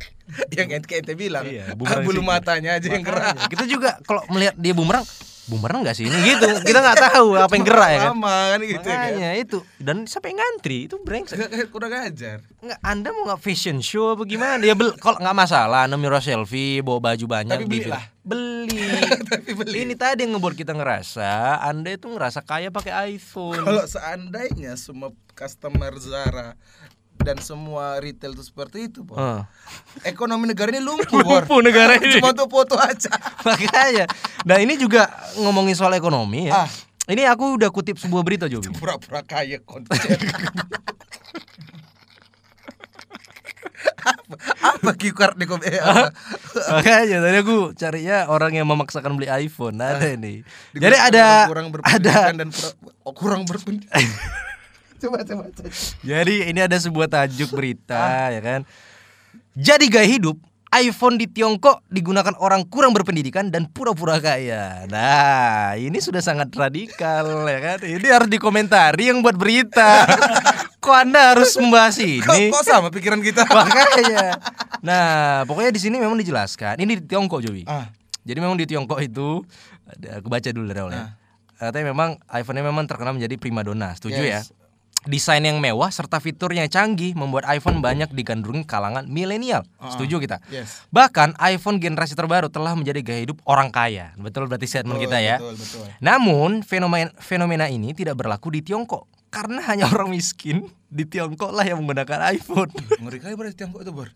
Speaker 2: yang ente kayak ente bilang
Speaker 1: Iya,
Speaker 2: ah,
Speaker 1: bumerang
Speaker 2: bulu
Speaker 1: sih.
Speaker 2: matanya aja yang gerak
Speaker 1: Makanya, Kita juga kalau melihat dia bumerang, bumerang nggak sih ini gitu. Kita nggak tahu apa yang gerak ya kan.
Speaker 2: lama kan gitu ya kan
Speaker 1: Makanya itu dan siapa yang ngantri itu brengsek.
Speaker 2: Nggak- kurang ajar
Speaker 1: Nggak, anda mau nggak fashion show apa gimana? Ya bel, kalau nggak masalah, anda mirror selfie, bawa baju banyak.
Speaker 2: Tapi beli
Speaker 1: di-
Speaker 2: lah.
Speaker 1: Beli.
Speaker 2: Tapi beli.
Speaker 1: Ini tadi yang ngebuat kita ngerasa, anda itu ngerasa kaya pakai iPhone.
Speaker 2: kalau seandainya semua customer Zara dan semua retail itu seperti itu Bor.
Speaker 1: Heeh.
Speaker 2: ekonomi negara ini lumpuh
Speaker 1: Ah.
Speaker 2: Bor.
Speaker 1: Lumpuh negara ini.
Speaker 2: cuma untuk foto aja
Speaker 1: Makanya. Nah ini juga ngomongin soal ekonomi ya.
Speaker 2: Ah.
Speaker 1: Ini aku udah kutip sebuah berita Jobi.
Speaker 2: pura-pura kaya konten apa apa cue card di kom- eh,
Speaker 1: Ah.
Speaker 2: apa?
Speaker 1: Makanya tadi aku carinya orang yang memaksakan beli iPhone. Nah, ada ini.
Speaker 2: Di-
Speaker 1: Jadi ada
Speaker 2: kurang
Speaker 1: ada
Speaker 2: berpendidikan dan pura- oh, kurang berpendidikan coba coba, coba.
Speaker 1: Jadi ini ada sebuah tajuk
Speaker 2: Ah.
Speaker 1: berita ya kan. Jadi gaya hidup iPhone di Tiongkok digunakan orang kurang berpendidikan dan pura-pura kaya. Nah, ini sudah sangat radikal ya kan. Ini harus dikomentari yang buat berita. Kok Anda harus membahas
Speaker 2: Kok,
Speaker 1: ini?
Speaker 2: kok sama pikiran kita?
Speaker 1: Makanya. Nah, pokoknya di sini memang dijelaskan. Ini di Tiongkok, Jowi.
Speaker 2: Ah.
Speaker 1: Jadi memang di Tiongkok itu ada- aku baca dulu dari
Speaker 2: Ah.
Speaker 1: awalnya. Katanya memang iPhone-nya memang terkenal menjadi primadona, setuju ya?
Speaker 2: Yes.
Speaker 1: Desain yang mewah serta fiturnya yang canggih membuat iPhone banyak digandrungi kalangan milenial. Setuju kita?
Speaker 2: Ah, Yes.
Speaker 1: Bahkan iPhone generasi terbaru telah menjadi gaya hidup orang kaya. Betul berarti statement kita ya.
Speaker 2: Betul, betul.
Speaker 1: Namun fenomena fenomena ini tidak berlaku di Tiongkok karena hanya orang miskin di Tiongkok lah yang menggunakan iPhone.
Speaker 2: Ngeri kali berarti tiang kok itu, Bor.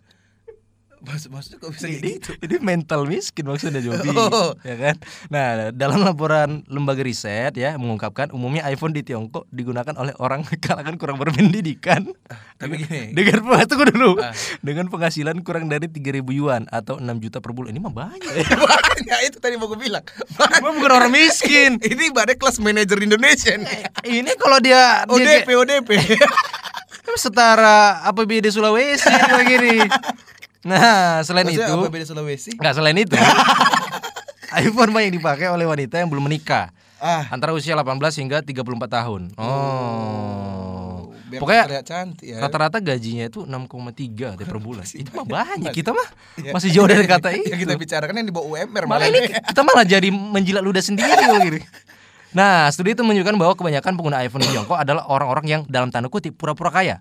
Speaker 2: maksud maksudnya kok bisa kayak
Speaker 1: Jadi,
Speaker 2: gitu
Speaker 1: jadi mental miskin maksudnya Jobi,
Speaker 2: Oh.
Speaker 1: ya kan? Nah, dalam laporan lembaga riset ya mengungkapkan umumnya iPhone di Tiongkok digunakan oleh orang kalangan kurang berpendidikan
Speaker 2: tapi gini
Speaker 1: dengan pe- tunggu dulu.
Speaker 2: Eh. Ah.
Speaker 1: Dengan penghasilan kurang dari 3000 yuan atau 6 juta per bulan. Ini mah banyak.
Speaker 2: Eh. banyak itu tadi mau gue bilang
Speaker 1: Gua bukan orang miskin.
Speaker 2: ini ibaratnya kelas manajer Indonesia nih
Speaker 1: Ini kalau dia, dia
Speaker 2: ODP
Speaker 1: kayak-
Speaker 2: ODP
Speaker 1: setara APBD Sulawesi kayak gini. Nah, selain
Speaker 2: maksudnya
Speaker 1: itu
Speaker 2: apa beda Sulawesi
Speaker 1: Nggak selain itu iPhone banyak dipakai oleh wanita yang belum menikah
Speaker 2: ah
Speaker 1: Antara usia 18 hingga 34 tahun Oh
Speaker 2: biar
Speaker 1: Pokoknya
Speaker 2: terlihat cantik ya
Speaker 1: rata-rata gajinya itu 6,3 deh per bulan Itu mah banyak Kita mah
Speaker 2: Ya.
Speaker 1: masih jauh dari kata
Speaker 2: yang kita
Speaker 1: itu
Speaker 2: bicarakan yang dibawa
Speaker 1: Iya. Malah
Speaker 2: UMR Iya, malah ya.
Speaker 1: ini kita malah jadi menjilat ludah sendiri kalau gini. Nah, studi itu menunjukkan bahwa kebanyakan pengguna iPhone di Tiongkok adalah orang-orang yang dalam tanda kutip pura-pura kaya.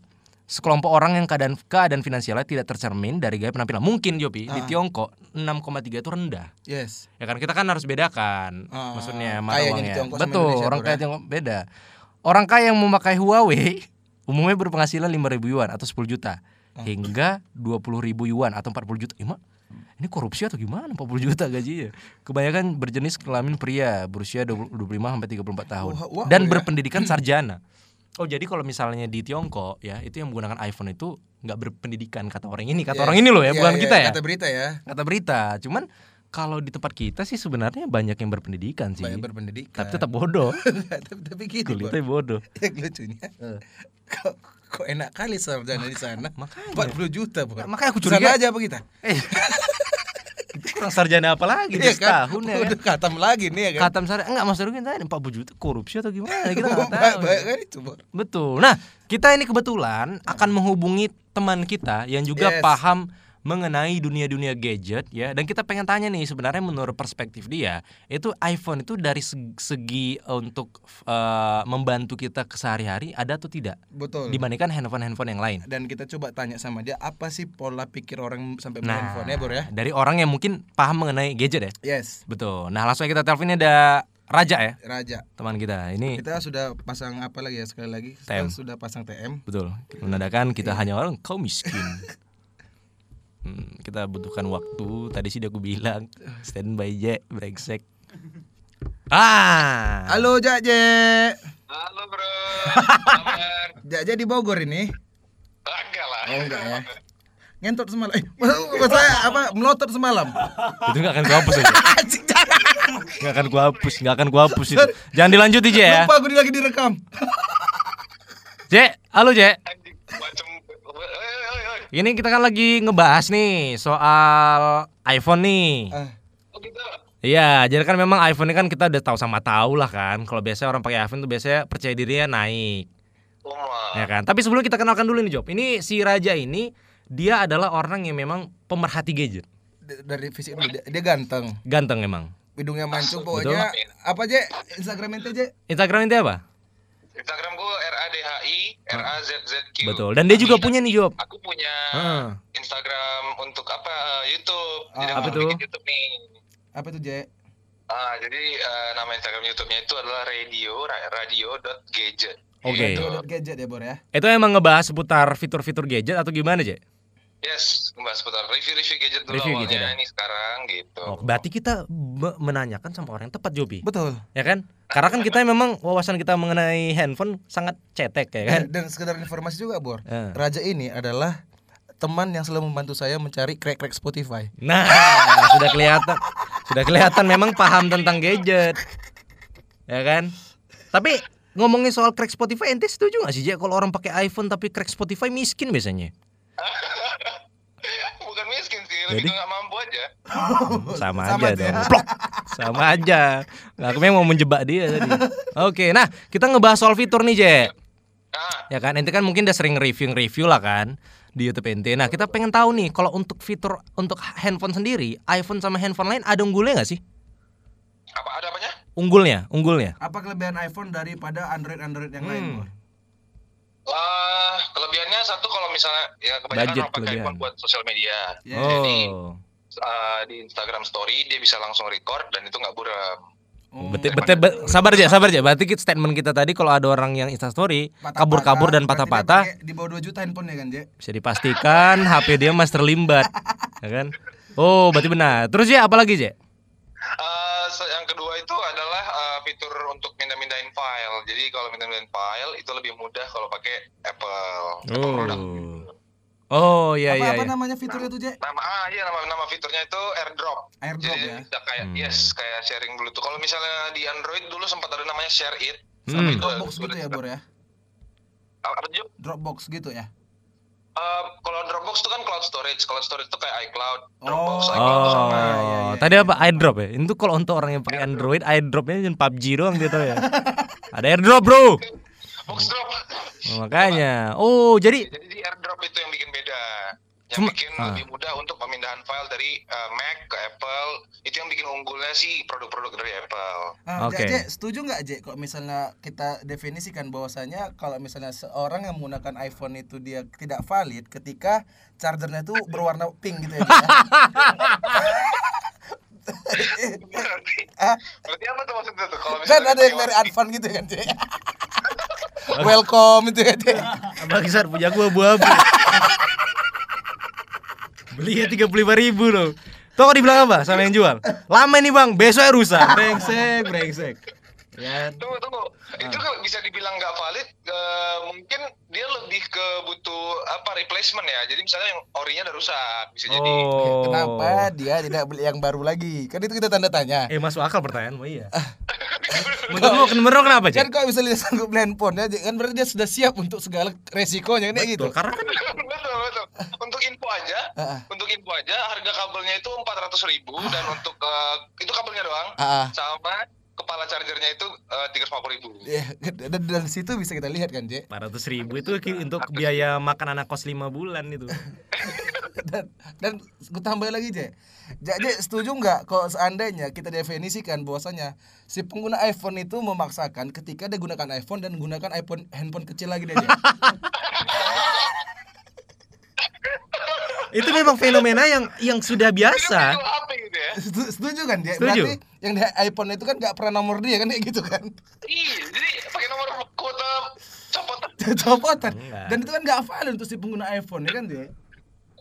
Speaker 1: Sekelompok orang yang keadaan keadaan finansialnya tidak tercermin dari gaya penampilan. Mungkin Jopi di Tiongkok 6,3 itu rendah.
Speaker 2: yes
Speaker 1: Ya kan kita kan harus bedakan
Speaker 2: Ah,
Speaker 1: maksudnya
Speaker 2: kayanya
Speaker 1: mata
Speaker 2: di
Speaker 1: uangnya.
Speaker 2: Tiongkok sama
Speaker 1: Betul,
Speaker 2: Indonesia
Speaker 1: orang
Speaker 2: tuh,
Speaker 1: kaya
Speaker 2: ya.
Speaker 1: Tiongkok beda. Orang kaya yang memakai Huawei umumnya berpenghasilan 5.000 yuan atau 10 juta
Speaker 2: Ah.
Speaker 1: hingga 20.000 yuan atau 40 juta. Ima, ini korupsi atau gimana 40 juta gajinya? Kebanyakan berjenis kelamin pria berusia 20 25 sampai 34 tahun
Speaker 2: Wah, wah,
Speaker 1: dan
Speaker 2: ya.
Speaker 1: berpendidikan sarjana. Oh jadi kalau misalnya di Tiongkok ya itu yang menggunakan iPhone itu nggak berpendidikan kata orang ini kata
Speaker 2: Yes.
Speaker 1: orang ini loh ya
Speaker 2: Iya,
Speaker 1: bukan
Speaker 2: iya,
Speaker 1: kita ya
Speaker 2: kata berita ya
Speaker 1: kata berita. Cuman kalau di tempat kita sih sebenarnya banyak yang berpendidikan sih.
Speaker 2: banyak berpendidikan
Speaker 1: Tapi tetap bodoh.
Speaker 2: tapi, tapi gitu Bor.
Speaker 1: Kulitnya bodoh.
Speaker 2: yang lucunya
Speaker 1: Eh.
Speaker 2: kok, kok enak kali sarjana di sana
Speaker 1: makanya.
Speaker 2: 40 juta
Speaker 1: Nah,
Speaker 2: Bor.
Speaker 1: makanya aku
Speaker 2: Sana
Speaker 1: curiga.
Speaker 2: aja apa kita
Speaker 1: Eh. Itu kurang sarjana apa lagi di
Speaker 2: Iya
Speaker 1: setahun ya kan?
Speaker 2: udah katam lagi nih ya kan
Speaker 1: Katam sarjana enggak Mas Darwin tanya 40 juta korupsi atau gimana kita enggak tahu.
Speaker 2: Ba-
Speaker 1: ya.
Speaker 2: ba- kan itu Bor.
Speaker 1: Betul. Nah, kita ini kebetulan akan menghubungi teman kita yang juga
Speaker 2: Yes.
Speaker 1: paham mengenai dunia-dunia gadget ya dan kita pengen tanya nih sebenarnya menurut perspektif dia itu iPhone itu dari seg- segi untuk eh, membantu kita ke sehari-hari ada atau tidak
Speaker 2: betul
Speaker 1: dibandingkan handphone-handphone yang lain.
Speaker 2: dan kita coba tanya sama dia apa sih pola pikir orang sampai main
Speaker 1: Nah,
Speaker 2: handphone ya Bor ya
Speaker 1: dari orang yang mungkin paham mengenai gadget ya.
Speaker 2: yes
Speaker 1: Betul. Nah, langsung aja kita telepon ini ada Raja ya,
Speaker 2: Raja
Speaker 1: teman kita. Ini
Speaker 2: kita sudah pasang apa lagi ya sekali lagi
Speaker 1: TM.
Speaker 2: kita sudah pasang TM
Speaker 1: Betul. Menandakan kita hanya orang kau miskin. Hmm, kita butuhkan waktu. Tadi sih udah aku bilang standby je brengsek. Ah.
Speaker 2: halo Jaje
Speaker 3: Halo bro, kabar?
Speaker 2: Jaje di Bogor ini
Speaker 3: Enggak lah.
Speaker 2: oh enggak ya ngentot semalam eh, maksud saya apa melotot semalam
Speaker 1: Itu nggak akan gua hapus aja.
Speaker 2: anjing jangan
Speaker 1: Nggak akan gua hapus, nggak akan gua hapus itu. Jangan dilanjut aja ya.
Speaker 2: lupa gue lagi direkam
Speaker 1: J, halo J.
Speaker 3: Anjing, Macam, oi, oi, oi.
Speaker 1: Ini kita kan lagi ngebahas nih soal iPhone nih.
Speaker 2: Ah,
Speaker 3: Oh gitu.
Speaker 1: Iya, jadi kan memang iPhone ini kan kita udah tahu sama tahu lah kan. Kalau biasanya orang pakai iPhone tuh biasanya percaya dirinya naik.
Speaker 3: Wah,
Speaker 1: ya kan tapi sebelum kita kenalkan dulu nih Job ini si Raja ini dia adalah orang yang memang pemerhati gadget
Speaker 2: d- dari fisik dulu dia, dia ganteng
Speaker 1: ganteng emang
Speaker 2: hidungnya mancung pokoknya apa aja Instagramnya aja
Speaker 1: Instagram itu apa
Speaker 3: Instagram gua R A D H I R A Z Z Q.
Speaker 1: Ah. betul dan dia juga punya nih Job
Speaker 3: Aku punya
Speaker 1: Heeh.
Speaker 3: Instagram untuk apa? eh, YouTube. Jadi
Speaker 2: Ah,
Speaker 3: aku
Speaker 1: apa
Speaker 3: baru
Speaker 1: tuh?
Speaker 3: bikin YouTube nih.
Speaker 2: apa tuh Je
Speaker 3: Ah, jadi eh, nama Instagram YouTube-nya itu adalah radio ra- radio.gadget.
Speaker 1: Oke.
Speaker 3: Gitu.
Speaker 2: Dot gadget ya Bor ya
Speaker 1: itu emang ngebahas seputar fitur-fitur gadget atau gimana Je?
Speaker 3: Yes, membahas seputar review-review gadget dulu
Speaker 1: Review
Speaker 3: awalnya
Speaker 1: gadget, ya?
Speaker 3: ini sekarang gitu.
Speaker 1: Oh, berarti kita me- menanyakan sama orang yang tepat Jobi
Speaker 2: betul
Speaker 1: ya kan karena kan kita memang wawasan kita mengenai handphone sangat cetek ya kan
Speaker 2: dan, dan sekedar informasi juga Bor
Speaker 1: Eh.
Speaker 2: Raja ini adalah teman yang selalu membantu saya mencari krek-krek Spotify
Speaker 1: Nah, sudah kelihatan. Sudah kelihatan memang paham tentang gadget. Ya kan? Tapi ngomongin soal crack Spotify ente setuju gak sih Jack kalau orang pakai iPhone tapi crack Spotify miskin biasanya?
Speaker 3: Bukan miskin sih,
Speaker 1: Jadi?
Speaker 3: lebih ke nggak mampu aja.
Speaker 1: Sama, aja
Speaker 2: Sama aja.
Speaker 1: dong. Plok. Sama aja. Nah, aku memang mau menjebak dia tadi. Oke, nah kita ngebahas soal fitur nih, Jack.
Speaker 3: Nah,
Speaker 1: Ya kan? Ente kan mungkin udah sering review-review lah kan di YouTube ente. Nah, kita pengen tahu nih kalau untuk fitur untuk handphone sendiri, iPhone sama handphone lain ada unggulnya nggak sih?
Speaker 3: apa ada apanya?
Speaker 1: Unggulnya, unggulnya.
Speaker 2: apa kelebihan iPhone daripada Android Android yang lain
Speaker 1: Hmm.
Speaker 2: Bor?
Speaker 3: Wah, Eh, kelebihannya satu kalau misalnya ya kebanyakan
Speaker 1: Budget
Speaker 3: orang pakai
Speaker 1: kelebihan.
Speaker 3: handphone buat sosial media.
Speaker 2: Ya,
Speaker 3: Jadi
Speaker 1: Oh.
Speaker 3: eh, di Instagram Story dia bisa langsung record dan itu nggak buram.
Speaker 2: Hmm.
Speaker 1: Bete- bete- be- sabar aja, sabar aja. Berarti kita- statement kita tadi kalau ada orang yang instastory kabur-kabur dan
Speaker 2: Berarti dia
Speaker 1: patah-patah Iya,
Speaker 2: pakai Di bawah 2 juta handphonenya kan, Je?
Speaker 1: bisa dipastikan HP dia mas terlimbat, ya kan? Oh, berarti benar. Terus ya apalagi Je?
Speaker 3: Eh, se- yang kedua itu adalah eh, fitur untuk mindah-mindahin file. Jadi kalau mindah-mindahin file itu lebih mudah kalau pakai Apple. Apple product.
Speaker 1: Oh. Oh, iya
Speaker 2: apa,
Speaker 1: iya.
Speaker 2: apa
Speaker 1: iya.
Speaker 2: namanya fiturnya tuh, Je?
Speaker 3: Nama ah iya nama nama fiturnya itu AirDrop.
Speaker 2: Airdrop
Speaker 3: Jadi
Speaker 2: ya.
Speaker 3: bisa kayak
Speaker 1: Hmm.
Speaker 3: yes kayak sharing dulu tuh. Kalau misalnya di Android dulu sempat ada namanya Share It. Tapi
Speaker 1: Hmm.
Speaker 3: itu
Speaker 2: Dropbox gitu
Speaker 3: udah-
Speaker 2: ya, Bor ya.
Speaker 3: apa apa, Jo?
Speaker 2: Dropbox gitu ya.
Speaker 3: Eh, kalau Dropbox itu kan cloud storage. Cloud storage itu kayak iCloud.
Speaker 2: Oh.
Speaker 3: Dropbox, iCloud
Speaker 1: Oh,
Speaker 3: tuh sama.
Speaker 2: iya, iya,
Speaker 1: tadi apa airdrop ya? Itu kalau untuk orang yang pakai Android, airdropnya cuma PUBG doang dia tahu ya. Ada airdrop, Bro.
Speaker 3: Box drop.
Speaker 1: Oh, makanya. Oh, jadi
Speaker 3: Jadi di AirDrop itu yang bikin beda. Yang
Speaker 1: Cuma-
Speaker 3: bikin
Speaker 1: ah.
Speaker 3: lebih mudah untuk pemindahan file dari eh, Mac ke Apple. Itu yang bikin unggulnya sih produk-produk dari Apple.
Speaker 2: Ah,
Speaker 1: Oke.
Speaker 2: Je, Je, setuju nggak Je kalau misalnya kita definisikan bahwasanya kalau misalnya seorang yang menggunakan iPhone itu dia tidak valid ketika chargernya itu berwarna pink gitu ya. Je, ya?
Speaker 3: berarti,
Speaker 2: Ah.
Speaker 3: berarti apa tuh maksudnya tuh? Kalau
Speaker 2: kan
Speaker 3: misalnya
Speaker 2: ada yang dari Advan gitu kan Je. Welcome itu ya Je.
Speaker 1: Bangsat punya gua abu-abu Belinya 35 ribu loh Toko dibilang apa sama yang jual? Lama ini bang, besoknya rusak Brengsek, brengsek Ya.
Speaker 3: Tunggu, tunggu. Itu kalau bisa dibilang nggak valid, eh, mungkin dia lebih ke butuh apa replacement ya. Jadi misalnya yang orinya udah rusak, bisa jadi.
Speaker 1: Oh.
Speaker 2: Kenapa dia tidak beli yang baru lagi? Kan itu kita tanda tanya.
Speaker 1: Eh masuk akal pertanyaanmu iya Menurut lu, menurut lu kenapa
Speaker 2: Ah.
Speaker 1: Cek?
Speaker 2: Kan kalau misalnya dia sanggup beli handphone ya, Je, kan berarti dia sudah siap untuk segala resikonya kan ya gitu.
Speaker 1: Karena kan
Speaker 3: betul, betul. Untuk info aja,
Speaker 2: Heeh.
Speaker 3: untuk info aja harga kabelnya itu 400.000 ribu dan untuk eh, itu kabelnya doang.
Speaker 2: Ah, ah.
Speaker 3: sama kepala chargernya itu eh, tiga ribu.
Speaker 2: Ya, dan dari situ bisa kita lihat kan, Je.
Speaker 1: 400 ribu itu ki- untuk biaya makan anak kos 5 bulan itu
Speaker 2: dan dan gue tambah lagi je Ja- Je, setuju nggak kalau seandainya kita definisikan bahwasanya si pengguna iPhone itu memaksakan ketika dia gunakan iPhone dan gunakan iPhone handphone kecil lagi deh Je.
Speaker 1: Itu memang fenomena yang yang sudah biasa
Speaker 3: HP gitu ya.
Speaker 2: Setu- setuju kan Je?
Speaker 1: Setuju.
Speaker 2: berarti yang di iPhone itu kan nggak pernah nomor dia kan kayak gitu kan
Speaker 3: Iya, jadi pakai nomor kuota copotan.
Speaker 2: copotan
Speaker 1: Enggak.
Speaker 2: dan itu kan nggak valid untuk si pengguna iPhone ya kan Je?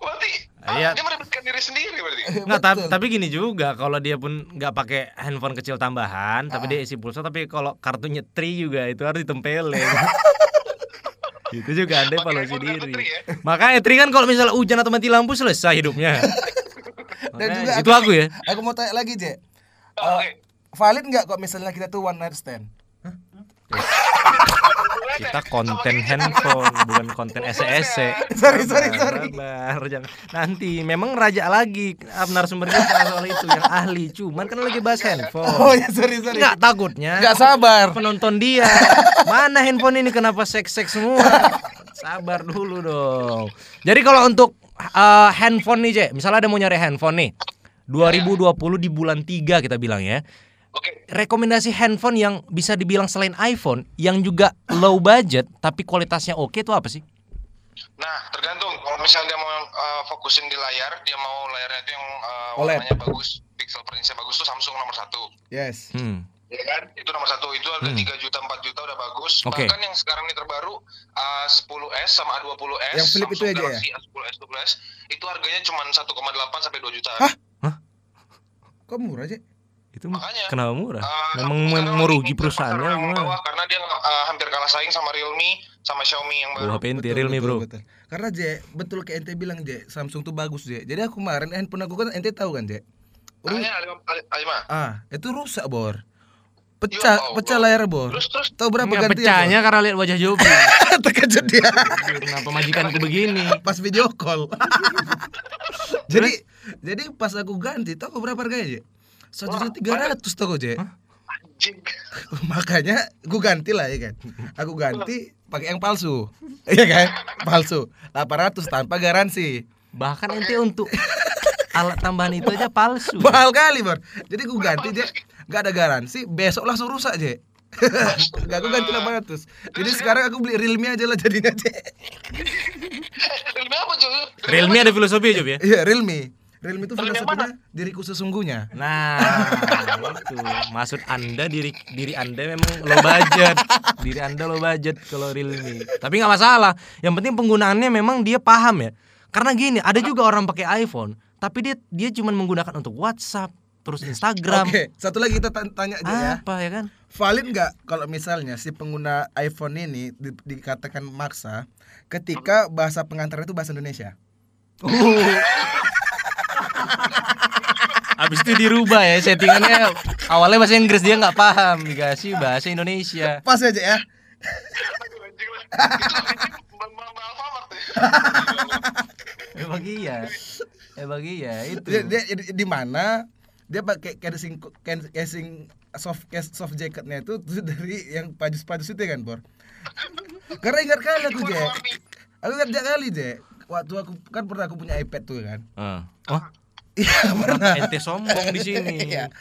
Speaker 3: Berarti ah,
Speaker 1: Iya.
Speaker 3: dia meribetkan diri sendiri berarti.
Speaker 1: Nggak, ta-
Speaker 2: Betul.
Speaker 1: tapi gini juga kalau dia pun nggak pakai handphone kecil tambahan,
Speaker 2: Ah.
Speaker 1: tapi dia isi pulsa, tapi kalau kartu nyetri juga itu harus ditempelin. itu juga ada
Speaker 3: Pakai
Speaker 1: evaluasi
Speaker 3: handphone kartu
Speaker 1: diri.
Speaker 3: tri ya?
Speaker 1: Makanya tri kan kalau misalnya hujan atau mati lampu selesai hidupnya.
Speaker 2: dan
Speaker 1: Makanya
Speaker 2: juga
Speaker 1: itu aku ya.
Speaker 2: aku mau tanya lagi Je.
Speaker 3: Oke.
Speaker 2: Eh, valid nggak kok misalnya kita tuh one night stand
Speaker 3: ya?
Speaker 1: Kita konten
Speaker 3: gitu.
Speaker 1: handphone bukan konten SES.
Speaker 2: Sorry, sorry, sorry.
Speaker 1: Sabar, jangan. Nanti memang raja lagi ah, narasumber kita soal itu yang ahli. Cuman kan lagi bahas
Speaker 2: oh
Speaker 1: handphone.
Speaker 2: ya sorry sorry
Speaker 1: Enggak takutnya.
Speaker 2: nggak sabar
Speaker 1: penonton dia mana handphone ini kenapa seks seks semua sabar dulu dong jadi kalau untuk eh, handphone nih cek misalnya ada mau nyari handphone nih 2020 di bulan 3 kita bilang ya
Speaker 3: Oke.
Speaker 1: rekomendasi handphone yang bisa dibilang selain iPhone yang juga low budget tapi kualitasnya oke itu apa sih
Speaker 3: Nah, tergantung kalau misalnya dia mau eh, fokusin di layar, dia mau layarnya itu yang eh,
Speaker 2: OLED.
Speaker 3: warnanya bagus, pixel per inch-nya bagus tuh Samsung nomor satu.
Speaker 2: yes
Speaker 1: hmm.
Speaker 3: Ya kan? Itu nomor satu, itu ada 3 juta, 4 juta udah bagus.
Speaker 1: Oke.
Speaker 3: Bahkan yang sekarang ini terbaru uh, 10S sama A20S,
Speaker 2: Yang flip itu
Speaker 3: Samsung
Speaker 2: aja ya?
Speaker 3: Galaxy S10S, 12S, itu harganya cuma 1,8 sampai 2 juta.
Speaker 2: Hah?
Speaker 1: Hah?
Speaker 2: kok murah Je?
Speaker 1: itu
Speaker 3: Makanya,
Speaker 1: kenapa murah
Speaker 3: Uh,
Speaker 1: memang
Speaker 3: Samsung sekarang
Speaker 1: merugi
Speaker 3: lagi ngincer pasar
Speaker 1: perusahaannya
Speaker 3: yang
Speaker 1: gimana?
Speaker 3: bawah karena dia uh, hampir kalah saing sama Realme sama Xiaomi yang baru.
Speaker 1: Wah, HP ente
Speaker 2: Betul,
Speaker 1: Realme
Speaker 2: betul,
Speaker 1: bro
Speaker 2: betul. Karena J, betul kayak ente bilang J, Samsung tuh bagus J. Jadi aku kemarin handphone aku kan ente tahu kan J. Ru-
Speaker 3: Makanya ada ada- ada- ada-
Speaker 2: ah, itu rusak bor. Pecah,
Speaker 3: Ya Allah.
Speaker 2: pecah layar bor.
Speaker 3: Terus terus
Speaker 2: Tahu berapa
Speaker 1: Nggak,
Speaker 2: gantinya?
Speaker 1: pecahnya karena lihat wajah Jopi
Speaker 2: Bor? Terkejut dia
Speaker 1: kenapa majikanku begini
Speaker 2: pas video call. jadi jadi pas aku ganti, tahu berapa harganya J? Satu juta tiga ratus tau J.
Speaker 3: anjing.
Speaker 2: Makanya gue ganti lah ya kan. Aku ganti pakai yang palsu. Iya kan? Palsu. 800 tanpa garansi.
Speaker 1: Bahkan ente untuk alat tambahan itu aja palsu.
Speaker 2: mahal kali bor jadi gue ganti je nggak ada garansi besok langsung rusak je nggak aku ganti 800 jadi sekarang aku beli realme aja lah jadinya je
Speaker 3: Realme apa cuy?
Speaker 1: Realme ada filosofi ya, Job ya?
Speaker 2: iya realme Realme itu
Speaker 3: Realme yang
Speaker 2: filosofinya diriku sesungguhnya.
Speaker 1: Nah, itu maksud Anda diri diri Anda memang low budget. Diri Anda low budget kalau Realme. Tapi nggak masalah. Yang penting penggunaannya memang dia paham ya. Karena gini, ada juga orang pakai iPhone, tapi dia dia cuma menggunakan untuk WhatsApp, terus Instagram.
Speaker 2: Oke, satu lagi kita tan- tanya aja ya.
Speaker 1: Apa ya kan?
Speaker 2: Valid nggak kalau misalnya si pengguna iPhone ini di- dikatakan maksa ketika bahasa pengantar itu bahasa Indonesia?
Speaker 1: Habis itu dirubah ya settingannya. Awalnya bahasa Inggris dia nggak paham, dikasih bahasa Indonesia.
Speaker 2: Pas aja ya.
Speaker 3: Anjing lah. Itu anjing Mbak Mbak Alfamart ya.
Speaker 1: Emang iya. Emang iya itu.
Speaker 2: Dia, dia- di- di mana dia pakai casing can- casing soft case soft jacketnya itu tuh dari yang pajus-pajus itu ya kan, Bor? Karena ingat kali aku, Jek. Aku ingat kali, Jek. Waktu aku kan pernah aku punya iPad tuh kan.
Speaker 1: Heeh. Wah,
Speaker 2: Iya, pernah.
Speaker 1: Oh, ente sombong di sini.
Speaker 2: Iya.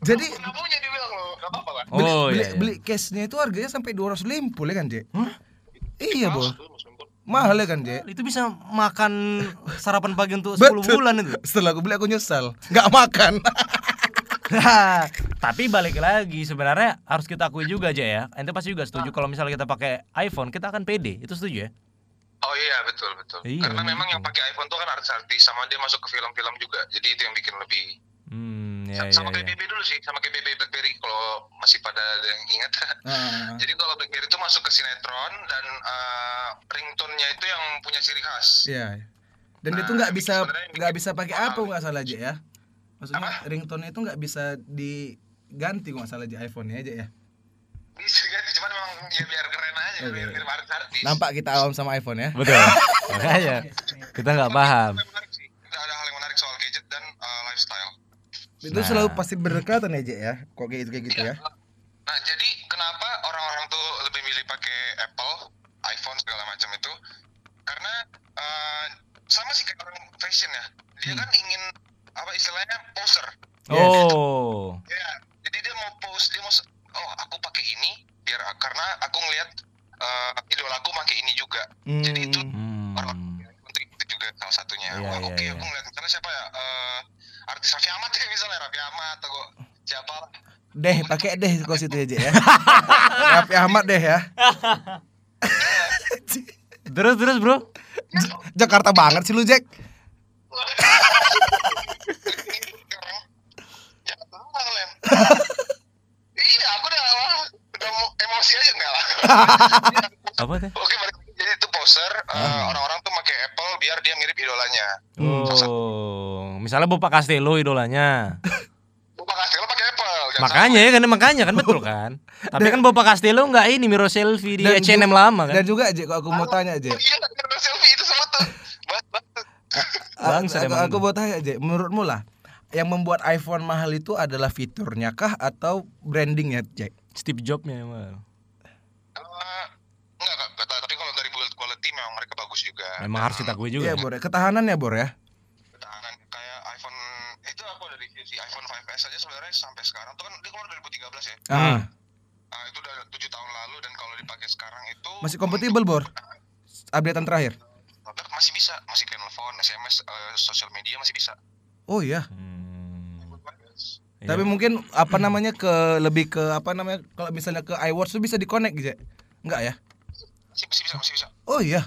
Speaker 2: Jadi
Speaker 3: Nggak punya dibilang loh. Nggak apa-apa lah.
Speaker 2: beli,
Speaker 1: Oh
Speaker 2: beli,
Speaker 1: iya. iya.
Speaker 2: beli case-nya itu harganya sampai 250 ya kan, Jek?
Speaker 1: Hah?
Speaker 2: Iya, Bor.
Speaker 3: Aduh, musim pun.
Speaker 2: Mahal ya kan, Jek?
Speaker 1: Itu bisa makan sarapan pagi untuk 10
Speaker 2: Betul.
Speaker 1: bulan itu.
Speaker 2: Setelah aku beli aku nyesal, nggak makan.
Speaker 1: Nah, Tapi balik lagi sebenarnya harus kita akui juga aja ya. Ente pasti juga
Speaker 2: Ah.
Speaker 1: setuju kalau misalnya kita pakai iPhone kita akan pede. Itu setuju ya?
Speaker 3: Oh iya betul betul.
Speaker 1: Iya,
Speaker 3: Karena memang
Speaker 1: betul.
Speaker 3: yang pakai iPhone tuh kan artis-artis sama dia masuk ke film-film juga. Jadi itu yang bikin lebih
Speaker 1: Hmm, ya,
Speaker 3: sama
Speaker 1: ya,
Speaker 3: kayak
Speaker 1: ya.
Speaker 3: BB dulu sih, sama kayak BB BlackBerry kalau masih pada ada yang ingat.
Speaker 2: Ah.
Speaker 3: Jadi kalau BlackBerry itu masuk ke sinetron dan eh, ringtone-nya itu yang punya ciri khas.
Speaker 2: Iya. Dan
Speaker 3: Nah,
Speaker 2: itu nggak bisa
Speaker 3: sebenarnya yang
Speaker 2: nggak
Speaker 3: bikin
Speaker 2: bisa pakai
Speaker 3: mahal
Speaker 2: apa nggak salah aja ya. Maksudnya ringtone itu nggak bisa diganti nggak salah aja iPhone-nya aja ya.
Speaker 3: Bisa diganti Gitu cuman memang ya biar keren aja, biar biar artis.
Speaker 2: Nampak kita awam sama iPhone ya.
Speaker 1: Betul. Makanya kita nggak paham.
Speaker 3: Ada hal yang menarik sih. Ada hal yang menarik soal gadget dan eh, lifestyle.
Speaker 2: Itu
Speaker 1: Nah.
Speaker 2: selalu pasti berdekatan aja ya. Kok kayak gitu kayak gitu
Speaker 1: Iya.
Speaker 2: ya.
Speaker 3: Nah, jadi kenapa orang-orang tuh lebih milih pakai Apple, iPhone segala macam itu? Karena eh, sama sih kayak orang fashion ya. Dia
Speaker 1: Hmm.
Speaker 3: kan ingin apa istilahnya poser.
Speaker 2: Yes.
Speaker 1: Oh.
Speaker 3: Ya, jadi dia mau pose, dia mau se- oh aku pakai ini biar karena aku ngelihat eh idolaku pakai ini juga. Jadi itu
Speaker 2: Hmm.
Speaker 1: Hmm.
Speaker 3: untuk itu juga salah satunya.
Speaker 1: Iya,
Speaker 3: Wah,
Speaker 1: iya,
Speaker 3: oke
Speaker 1: iya.
Speaker 3: aku ngeliat karena siapa ya? Eh, artis Raffi Ahmad ya misalnya Raffi Ahmad atau siapa lah.
Speaker 2: Deh, pakai deh kau situ aja ya. Rapi Ahmad deh ya.
Speaker 1: Terus terus bro.
Speaker 2: Jakarta banget sih lu, Jack.
Speaker 3: sekarang jangan tambah kalian iya aku udah lah udah mau emosi aja enggak lah
Speaker 1: Apa teh?
Speaker 3: oke balik lagi. jadi itu poser eh, orang-orang tuh pakai Apple biar dia mirip idolanya
Speaker 2: Hmm.
Speaker 1: Oh. Misalnya Bapak Castello idolanya.
Speaker 3: Bapak Castello pakai Apple jangan
Speaker 1: Makanya ya kan makanya kan betul kan. Tapi kan Bapak Castello nggak ini mirror selfie di
Speaker 2: Dan ju-
Speaker 1: H&M
Speaker 3: Iya
Speaker 1: lama kan.
Speaker 2: Dan juga Jack, kok aku mau tanya
Speaker 3: salah.
Speaker 2: Jack.
Speaker 3: iya karena selfie itu semua tuh Bas- bas-
Speaker 2: Aku,
Speaker 1: Bangsat
Speaker 2: aku,
Speaker 1: emang
Speaker 2: aku
Speaker 1: lu.
Speaker 2: mau tanya Jack, menurutmu lah yang membuat iPhone mahal itu adalah fiturnya kah atau brandingnya Jack?
Speaker 1: Steve Jobsnya emang.
Speaker 3: Eh, enggak enggak, enggak tapi kalau dari build quality memang mereka bagus juga
Speaker 1: Memang harus kita akui juga.
Speaker 2: Iya, Bor. ya. Ketahanan ya, Bor ya.
Speaker 3: ketahanan kayak iPhone itu aku ada review sih iPhone 5s aja sebenarnya sampai sekarang tuh kan dia keluar 2013 ya
Speaker 1: Hmm.
Speaker 2: Ah,
Speaker 3: Nah, itu udah tujuh tahun lalu dan kalau dipakai sekarang itu
Speaker 2: masih kompatibel, Bor. Updatean terakhir.
Speaker 3: Tetap masih bisa, masih kayak telepon, SMS, eh, sosial media masih bisa.
Speaker 2: Oh iya.
Speaker 1: Hmm. Iya.
Speaker 2: Tapi mungkin apa namanya ke lebih ke apa namanya kalau misalnya ke iWatch tuh bisa di-connect gitu. Jack? Enggak ya?
Speaker 3: Masih, masih bisa, masih bisa.
Speaker 2: Oh iya.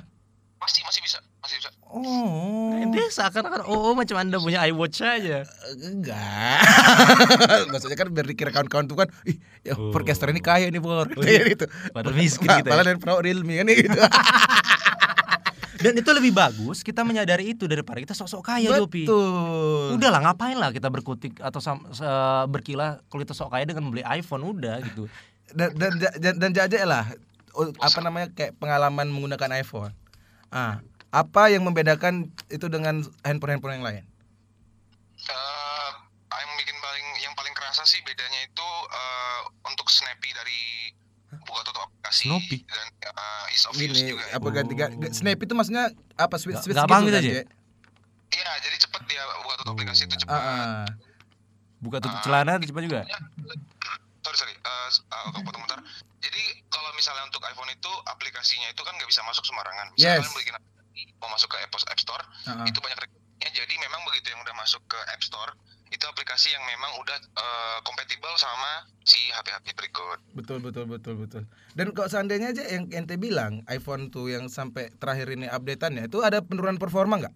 Speaker 3: Masih masih bisa, masih bisa.
Speaker 2: Oh.
Speaker 1: Ente seakan-akan oh, oh, macam anda punya iWatch aja.
Speaker 2: Enggak. Maksudnya kan biar dikira kawan-kawan tuh kan, ih, ya
Speaker 1: Oh.
Speaker 2: podcaster ini kaya nih, Bor.
Speaker 1: Oh, iya.
Speaker 2: Kayak gitu.
Speaker 1: Padahal miskin
Speaker 2: Nah,
Speaker 1: kita ya.
Speaker 2: Padahal dari Pro Realme kan gitu.
Speaker 1: Dan itu lebih bagus kita menyadari itu daripada kita sok-sok kaya Jopi. Iya,
Speaker 2: Betul.
Speaker 1: Udah lah ngapain lah kita berkutik atau sam- se- berkilah kalau kita sok kaya dengan beli iPhone udah gitu.
Speaker 2: dan dan dan, dan jajak lah o- apa namanya kayak pengalaman menggunakan iPhone. Ah, apa yang membedakan itu dengan handphone-handphone yang lain?
Speaker 3: Eh, yang bikin paling yang paling kerasa sih bedanya itu eh, untuk snappy dari buka tutup aplikasi
Speaker 1: Snoopy?
Speaker 3: dan eh, ease of use
Speaker 2: Ini
Speaker 3: juga.
Speaker 2: apa ganti ga- ga- snap itu maksudnya apa
Speaker 1: Oh.
Speaker 2: switch
Speaker 1: Ga-
Speaker 2: switch
Speaker 1: gampang gitu
Speaker 2: kan,
Speaker 1: aja?
Speaker 2: Jack?
Speaker 3: Iya, jadi cepet dia buka tutup aplikasi itu
Speaker 2: Ah,
Speaker 3: cepet.
Speaker 2: ah.
Speaker 1: Buka tutup celana cepat juga.
Speaker 3: Ya, sorry sorry Eh, s- eh, aku potong bentar jadi kalau misalnya untuk iPhone itu aplikasinya itu kan nggak bisa masuk sembarangan misalnya
Speaker 2: Yes.
Speaker 3: kalian bikin aplikasi, mau masuk ke Apple App Store
Speaker 2: Ah, ah.
Speaker 3: itu banyak rekomendasi Ya jadi memang begitu yang udah masuk ke App Store itu aplikasi yang memang udah eh, compatible sama si HP-HP berikut.
Speaker 2: Betul betul betul betul. Dan kalau seandainya aja yang ente bilang iPhone tuh yang sampai terakhir ini updateannya itu ada penurunan performa nggak?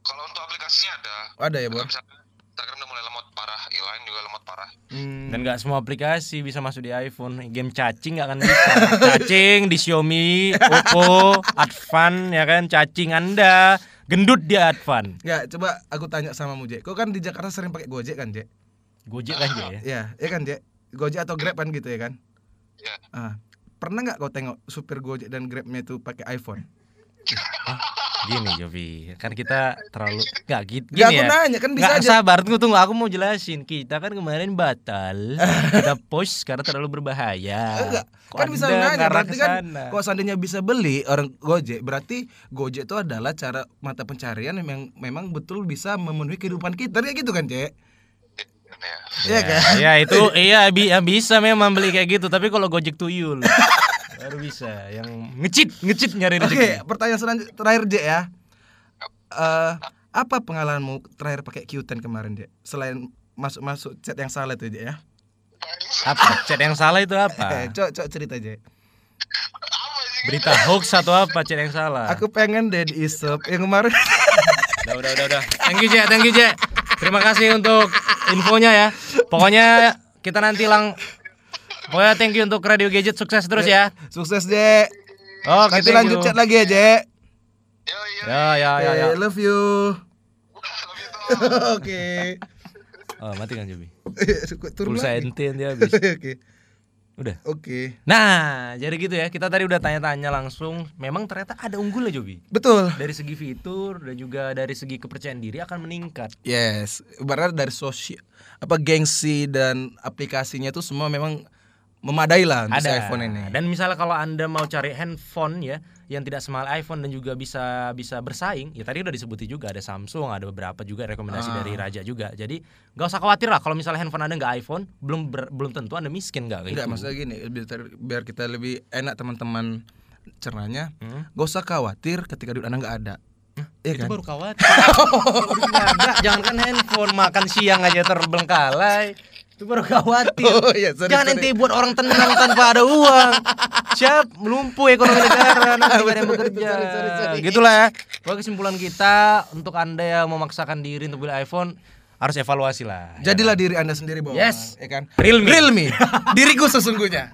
Speaker 3: Kalau untuk aplikasinya ada.
Speaker 2: Ada ya
Speaker 3: Kalau
Speaker 2: bor?
Speaker 3: misalnya Instagram udah mulai lemot parah, Elaine juga lemot parah.
Speaker 2: Hmm.
Speaker 1: Dan nggak semua aplikasi bisa masuk di iPhone. Game cacing nggak akan bisa. Cacing di Xiaomi, Oppo, Advan ya kan. Cacing Anda gendut di Advan.
Speaker 2: Nggak, Ya, coba aku tanya sama mu Jek. Kau kan di Jakarta sering pakai Gojek kan Jek?
Speaker 1: Gojek kan Jay, ya.
Speaker 2: Ya, ya kan Jek. Gojek atau Grab kan gitu ya kan?
Speaker 3: Ya.
Speaker 2: Ah. Pernah nggak kau tengok supir Gojek dan Grabnya itu pakai iPhone?
Speaker 1: Eh, Gini Jovi, kan kita terlalu nggak gitu.
Speaker 2: Nggak,
Speaker 1: Gini
Speaker 2: aku
Speaker 1: ya.
Speaker 2: nanya, kan bisa
Speaker 1: Nggak,
Speaker 2: aja.
Speaker 1: sabar tunggu tunggu aku mau jelasin. Kita kan kemarin batal. kita post karena terlalu berbahaya.
Speaker 2: Enggak.
Speaker 1: Kok
Speaker 2: kan bisa nanya
Speaker 1: ngarah
Speaker 2: berarti
Speaker 1: ke
Speaker 2: kan
Speaker 1: sana?
Speaker 2: kalau seandainya bisa beli orang Gojek berarti Gojek itu adalah cara mata pencarian yang memang- memang betul bisa memenuhi kehidupan kita kayak gitu kan Cek
Speaker 3: Ya.
Speaker 2: Iya kan
Speaker 1: Ya itu iya bi- ya bisa memang beli kayak gitu tapi kalau Gojek tuyul baru bisa yang ngecit ngecit nyari
Speaker 2: Oke
Speaker 1: rezeki.
Speaker 2: pertanyaan selanjutnya terakhir Cek ya Eh apa pengalamanmu terakhir pakai Q10 kemarin Cek selain masuk-masuk chat yang salah itu Cek ya
Speaker 1: Apa chat yang salah itu
Speaker 2: eh,
Speaker 1: apa?
Speaker 2: cok cok cerita Cek
Speaker 3: Apa sih?
Speaker 1: Berita hoax atau apa chat yang salah?
Speaker 2: aku pengen Daddy Isop yang kemarin
Speaker 1: Udah udah udah udah. Thank you Jack, thank you Jack. Terima kasih untuk infonya ya. Pokoknya kita nanti lang Pokoknya thank you untuk Radio Gadget sukses terus ya.
Speaker 2: sukses Cek
Speaker 1: Oke,
Speaker 2: nanti
Speaker 1: thank
Speaker 2: lanjut
Speaker 1: you.
Speaker 2: chat lagi ya Cek
Speaker 3: Yo yo.
Speaker 1: Ya ya ya ya.
Speaker 2: Eh, love you
Speaker 3: Love you, Tom.
Speaker 2: oke
Speaker 1: Oh, mati kan Jobi.
Speaker 2: Turun
Speaker 1: Pulsa
Speaker 2: lagi.
Speaker 1: ente nanti habis.
Speaker 2: Oke.
Speaker 1: Udah.
Speaker 2: Oke.
Speaker 1: Nah, jadi gitu ya. Kita tadi udah tanya-tanya langsung. Memang ternyata ada unggulnya Jobi.
Speaker 2: Betul.
Speaker 1: Dari segi fitur dan juga dari segi kepercayaan diri akan meningkat.
Speaker 2: Yes, ibarat dari sosial apa gengsi dan aplikasinya tuh semua memang memadai lah untuk si
Speaker 1: Ada.
Speaker 2: iPhone ini.
Speaker 1: Dan misalnya kalau anda mau cari handphone ya yang tidak semahal iPhone dan juga bisa bisa bersaing, ya tadi udah disebutin juga ada Samsung, ada beberapa juga
Speaker 2: Ah.
Speaker 1: rekomendasi dari Raja juga. Jadi nggak usah khawatir lah kalau misalnya handphone anda nggak iPhone, belum ber- belum tentu anda miskin nggak kayak
Speaker 2: Enggak,
Speaker 1: gitu.
Speaker 2: maksudnya gini, biar, biar kita lebih enak teman-teman cernanya.
Speaker 1: Hmm.
Speaker 2: Gak usah khawatir ketika duit Anda nggak ada. Iya
Speaker 1: Itu
Speaker 2: kan?
Speaker 1: baru khawatir. Baru ada, jangankan handphone makan siang aja terbengkalai. Itu baru khawatir.
Speaker 2: Oh, iya, sorry,
Speaker 1: Jangan
Speaker 2: sorry.
Speaker 1: nanti buat orang tenang tanpa ada uang. Siap melumpuh ekonomi negara nanti gak ada yang bekerja.
Speaker 2: Sorry, Ah, sorry, sorry.
Speaker 1: Gitulah ya. Pokoknya kesimpulan kita untuk Anda yang memaksakan diri untuk beli iPhone harus evaluasi lah. ya.
Speaker 2: Jadilah diri Anda sendiri, Bang.
Speaker 1: Yes.
Speaker 2: Ya kan?
Speaker 1: Real me.
Speaker 2: Real me. Diriku sesungguhnya.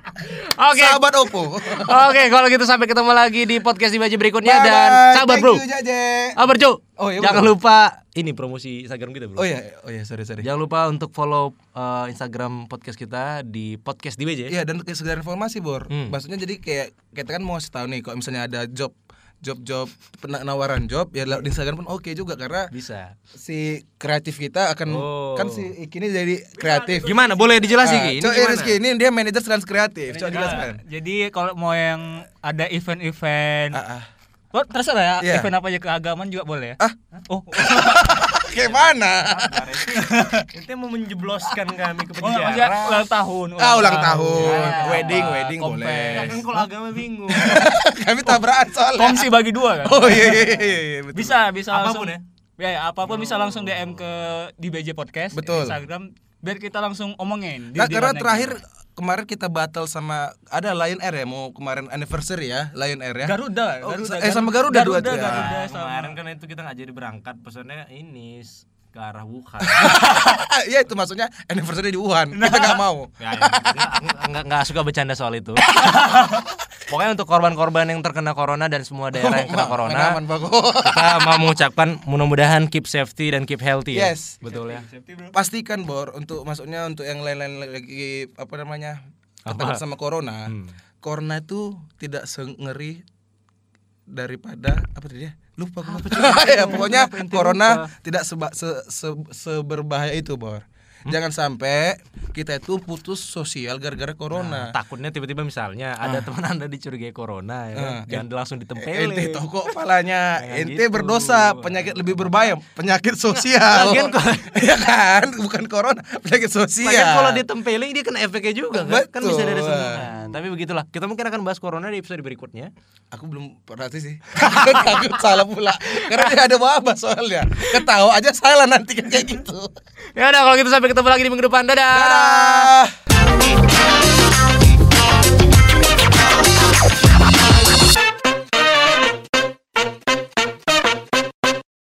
Speaker 1: Oke.
Speaker 2: Sahabat Oppo.
Speaker 1: Oke, kalau gitu sampai ketemu lagi di podcast di baju berikutnya
Speaker 2: Bye-bye.
Speaker 1: dan sabar
Speaker 2: Thank
Speaker 1: bro.
Speaker 2: you, Jaje.
Speaker 1: Sabar bro.
Speaker 2: Oh, iya,
Speaker 1: Jangan
Speaker 2: betul.
Speaker 1: lupa ini promosi Instagram kita bro.
Speaker 2: Oh iya, oh iya, sorry, sorry.
Speaker 1: Jangan lupa untuk follow uh, Instagram podcast kita di podcast DBJ.
Speaker 2: Iya dan ke- sekedar informasi Bor.
Speaker 1: Hmm.
Speaker 2: Maksudnya jadi kayak kita kan mau tahu nih kalau misalnya ada job job job penawaran job ya laut di Instagram pun oke juga karena
Speaker 1: Bisa.
Speaker 2: si kreatif kita akan
Speaker 1: Oh.
Speaker 2: kan si Iki ini jadi kreatif.
Speaker 1: Gimana? Boleh dijelasin
Speaker 2: Ah,
Speaker 1: Ki? Ini
Speaker 2: Cok, eh,
Speaker 1: gimana? Ah,
Speaker 2: Rizky, ini dia manajer trans kreatif. Cok dijelaskan.
Speaker 4: Jadi kalau mau yang ada event-event,
Speaker 2: Ah, ah.
Speaker 4: oh, terus ada
Speaker 2: Iya.
Speaker 4: event apa aja keagamaan juga boleh ya?
Speaker 2: Ah.
Speaker 4: Oh,
Speaker 2: Gimana?
Speaker 1: Kita mau menjebloskan kami ke
Speaker 4: oh, maksudnya ulang tahun.
Speaker 2: Ah ulang tahun,
Speaker 4: Ya.
Speaker 2: wedding, wedding
Speaker 4: Kompes.
Speaker 2: boleh.
Speaker 1: Kan kalau agama bingung.
Speaker 2: Kami tabrakan soalnya.
Speaker 4: Komsi bagi dua kan?
Speaker 2: Oh iya iya iya, iya, betul. Oh.
Speaker 4: Bisa, bisa
Speaker 1: Apapun
Speaker 4: langsung.
Speaker 1: ya?
Speaker 4: Ya, ya, apapun bisa langsung DM ke di BJ Podcast di
Speaker 2: Betul.
Speaker 4: Instagram biar kita langsung omongin. di-
Speaker 2: Nah,
Speaker 4: di
Speaker 2: karena
Speaker 4: mana
Speaker 2: terakhir
Speaker 4: gitu.
Speaker 2: kemarin kita batal sama ada Lion Air ya mau kemarin anniversary ya Lion Air ya.
Speaker 4: Garuda,
Speaker 2: Oh,
Speaker 4: Garuda, kan?
Speaker 2: eh, sama Garuda dua
Speaker 4: Garuda,
Speaker 2: tuh ya.
Speaker 4: Garuda, sama-
Speaker 1: Kemarin kan itu kita nggak jadi berangkat, pesannya ini s- ke arah Wuhan.
Speaker 2: Iya itu maksudnya anniversary di Wuhan. Kita
Speaker 4: Nah.
Speaker 2: nggak mau.
Speaker 1: Ya, ya, nggak- nggak nggak suka bercanda soal itu. Pokoknya untuk korban-korban yang terkena corona dan semua daerah yang kena
Speaker 2: Ma-
Speaker 1: corona,
Speaker 2: mana aman, Bago.
Speaker 1: kita mau mengucapkan mudah-mudahan keep safety dan keep healthy. ya.
Speaker 2: Yes.
Speaker 1: betul ya.
Speaker 2: Pastikan Bor untuk maksudnya untuk yang lain-lain lagi apa namanya? Ketakutan sama corona.
Speaker 1: Hmm.
Speaker 2: Corona itu tidak sengeri daripada apa tadi ya? Lupa gua. ya, pokoknya corona tidak seba- se- se- seberbahaya itu, Bor.
Speaker 1: Hmm?
Speaker 2: jangan sampai kita itu putus sosial gara-gara corona
Speaker 1: takutnya tiba-tiba misalnya ada teman anda dicurigai corona ya kan?
Speaker 2: Ah, eh,
Speaker 1: jangan langsung ditempelin
Speaker 2: ente toko palanya
Speaker 1: Jangan
Speaker 2: ente
Speaker 1: gitu. Nah,
Speaker 2: berdosa penyakit lebih berbahaya penyakit sosial
Speaker 1: Lagian kok-
Speaker 2: ya kan bukan corona penyakit sosial
Speaker 1: Padahal kalau ditempelin dia kena efeknya juga kan? Kan bisa dari
Speaker 2: Betul.
Speaker 1: semua. Tapi begitulah. Kita mungkin akan bahas corona di episode berikutnya.
Speaker 2: aku belum perhati sih takut salah pula karena dia ada wabah soalnya ketawa aja salah nanti kayak gitu
Speaker 1: Ya udah kalau gitu sampai ketemu lagi di minggu depan. Dadah.
Speaker 2: dadah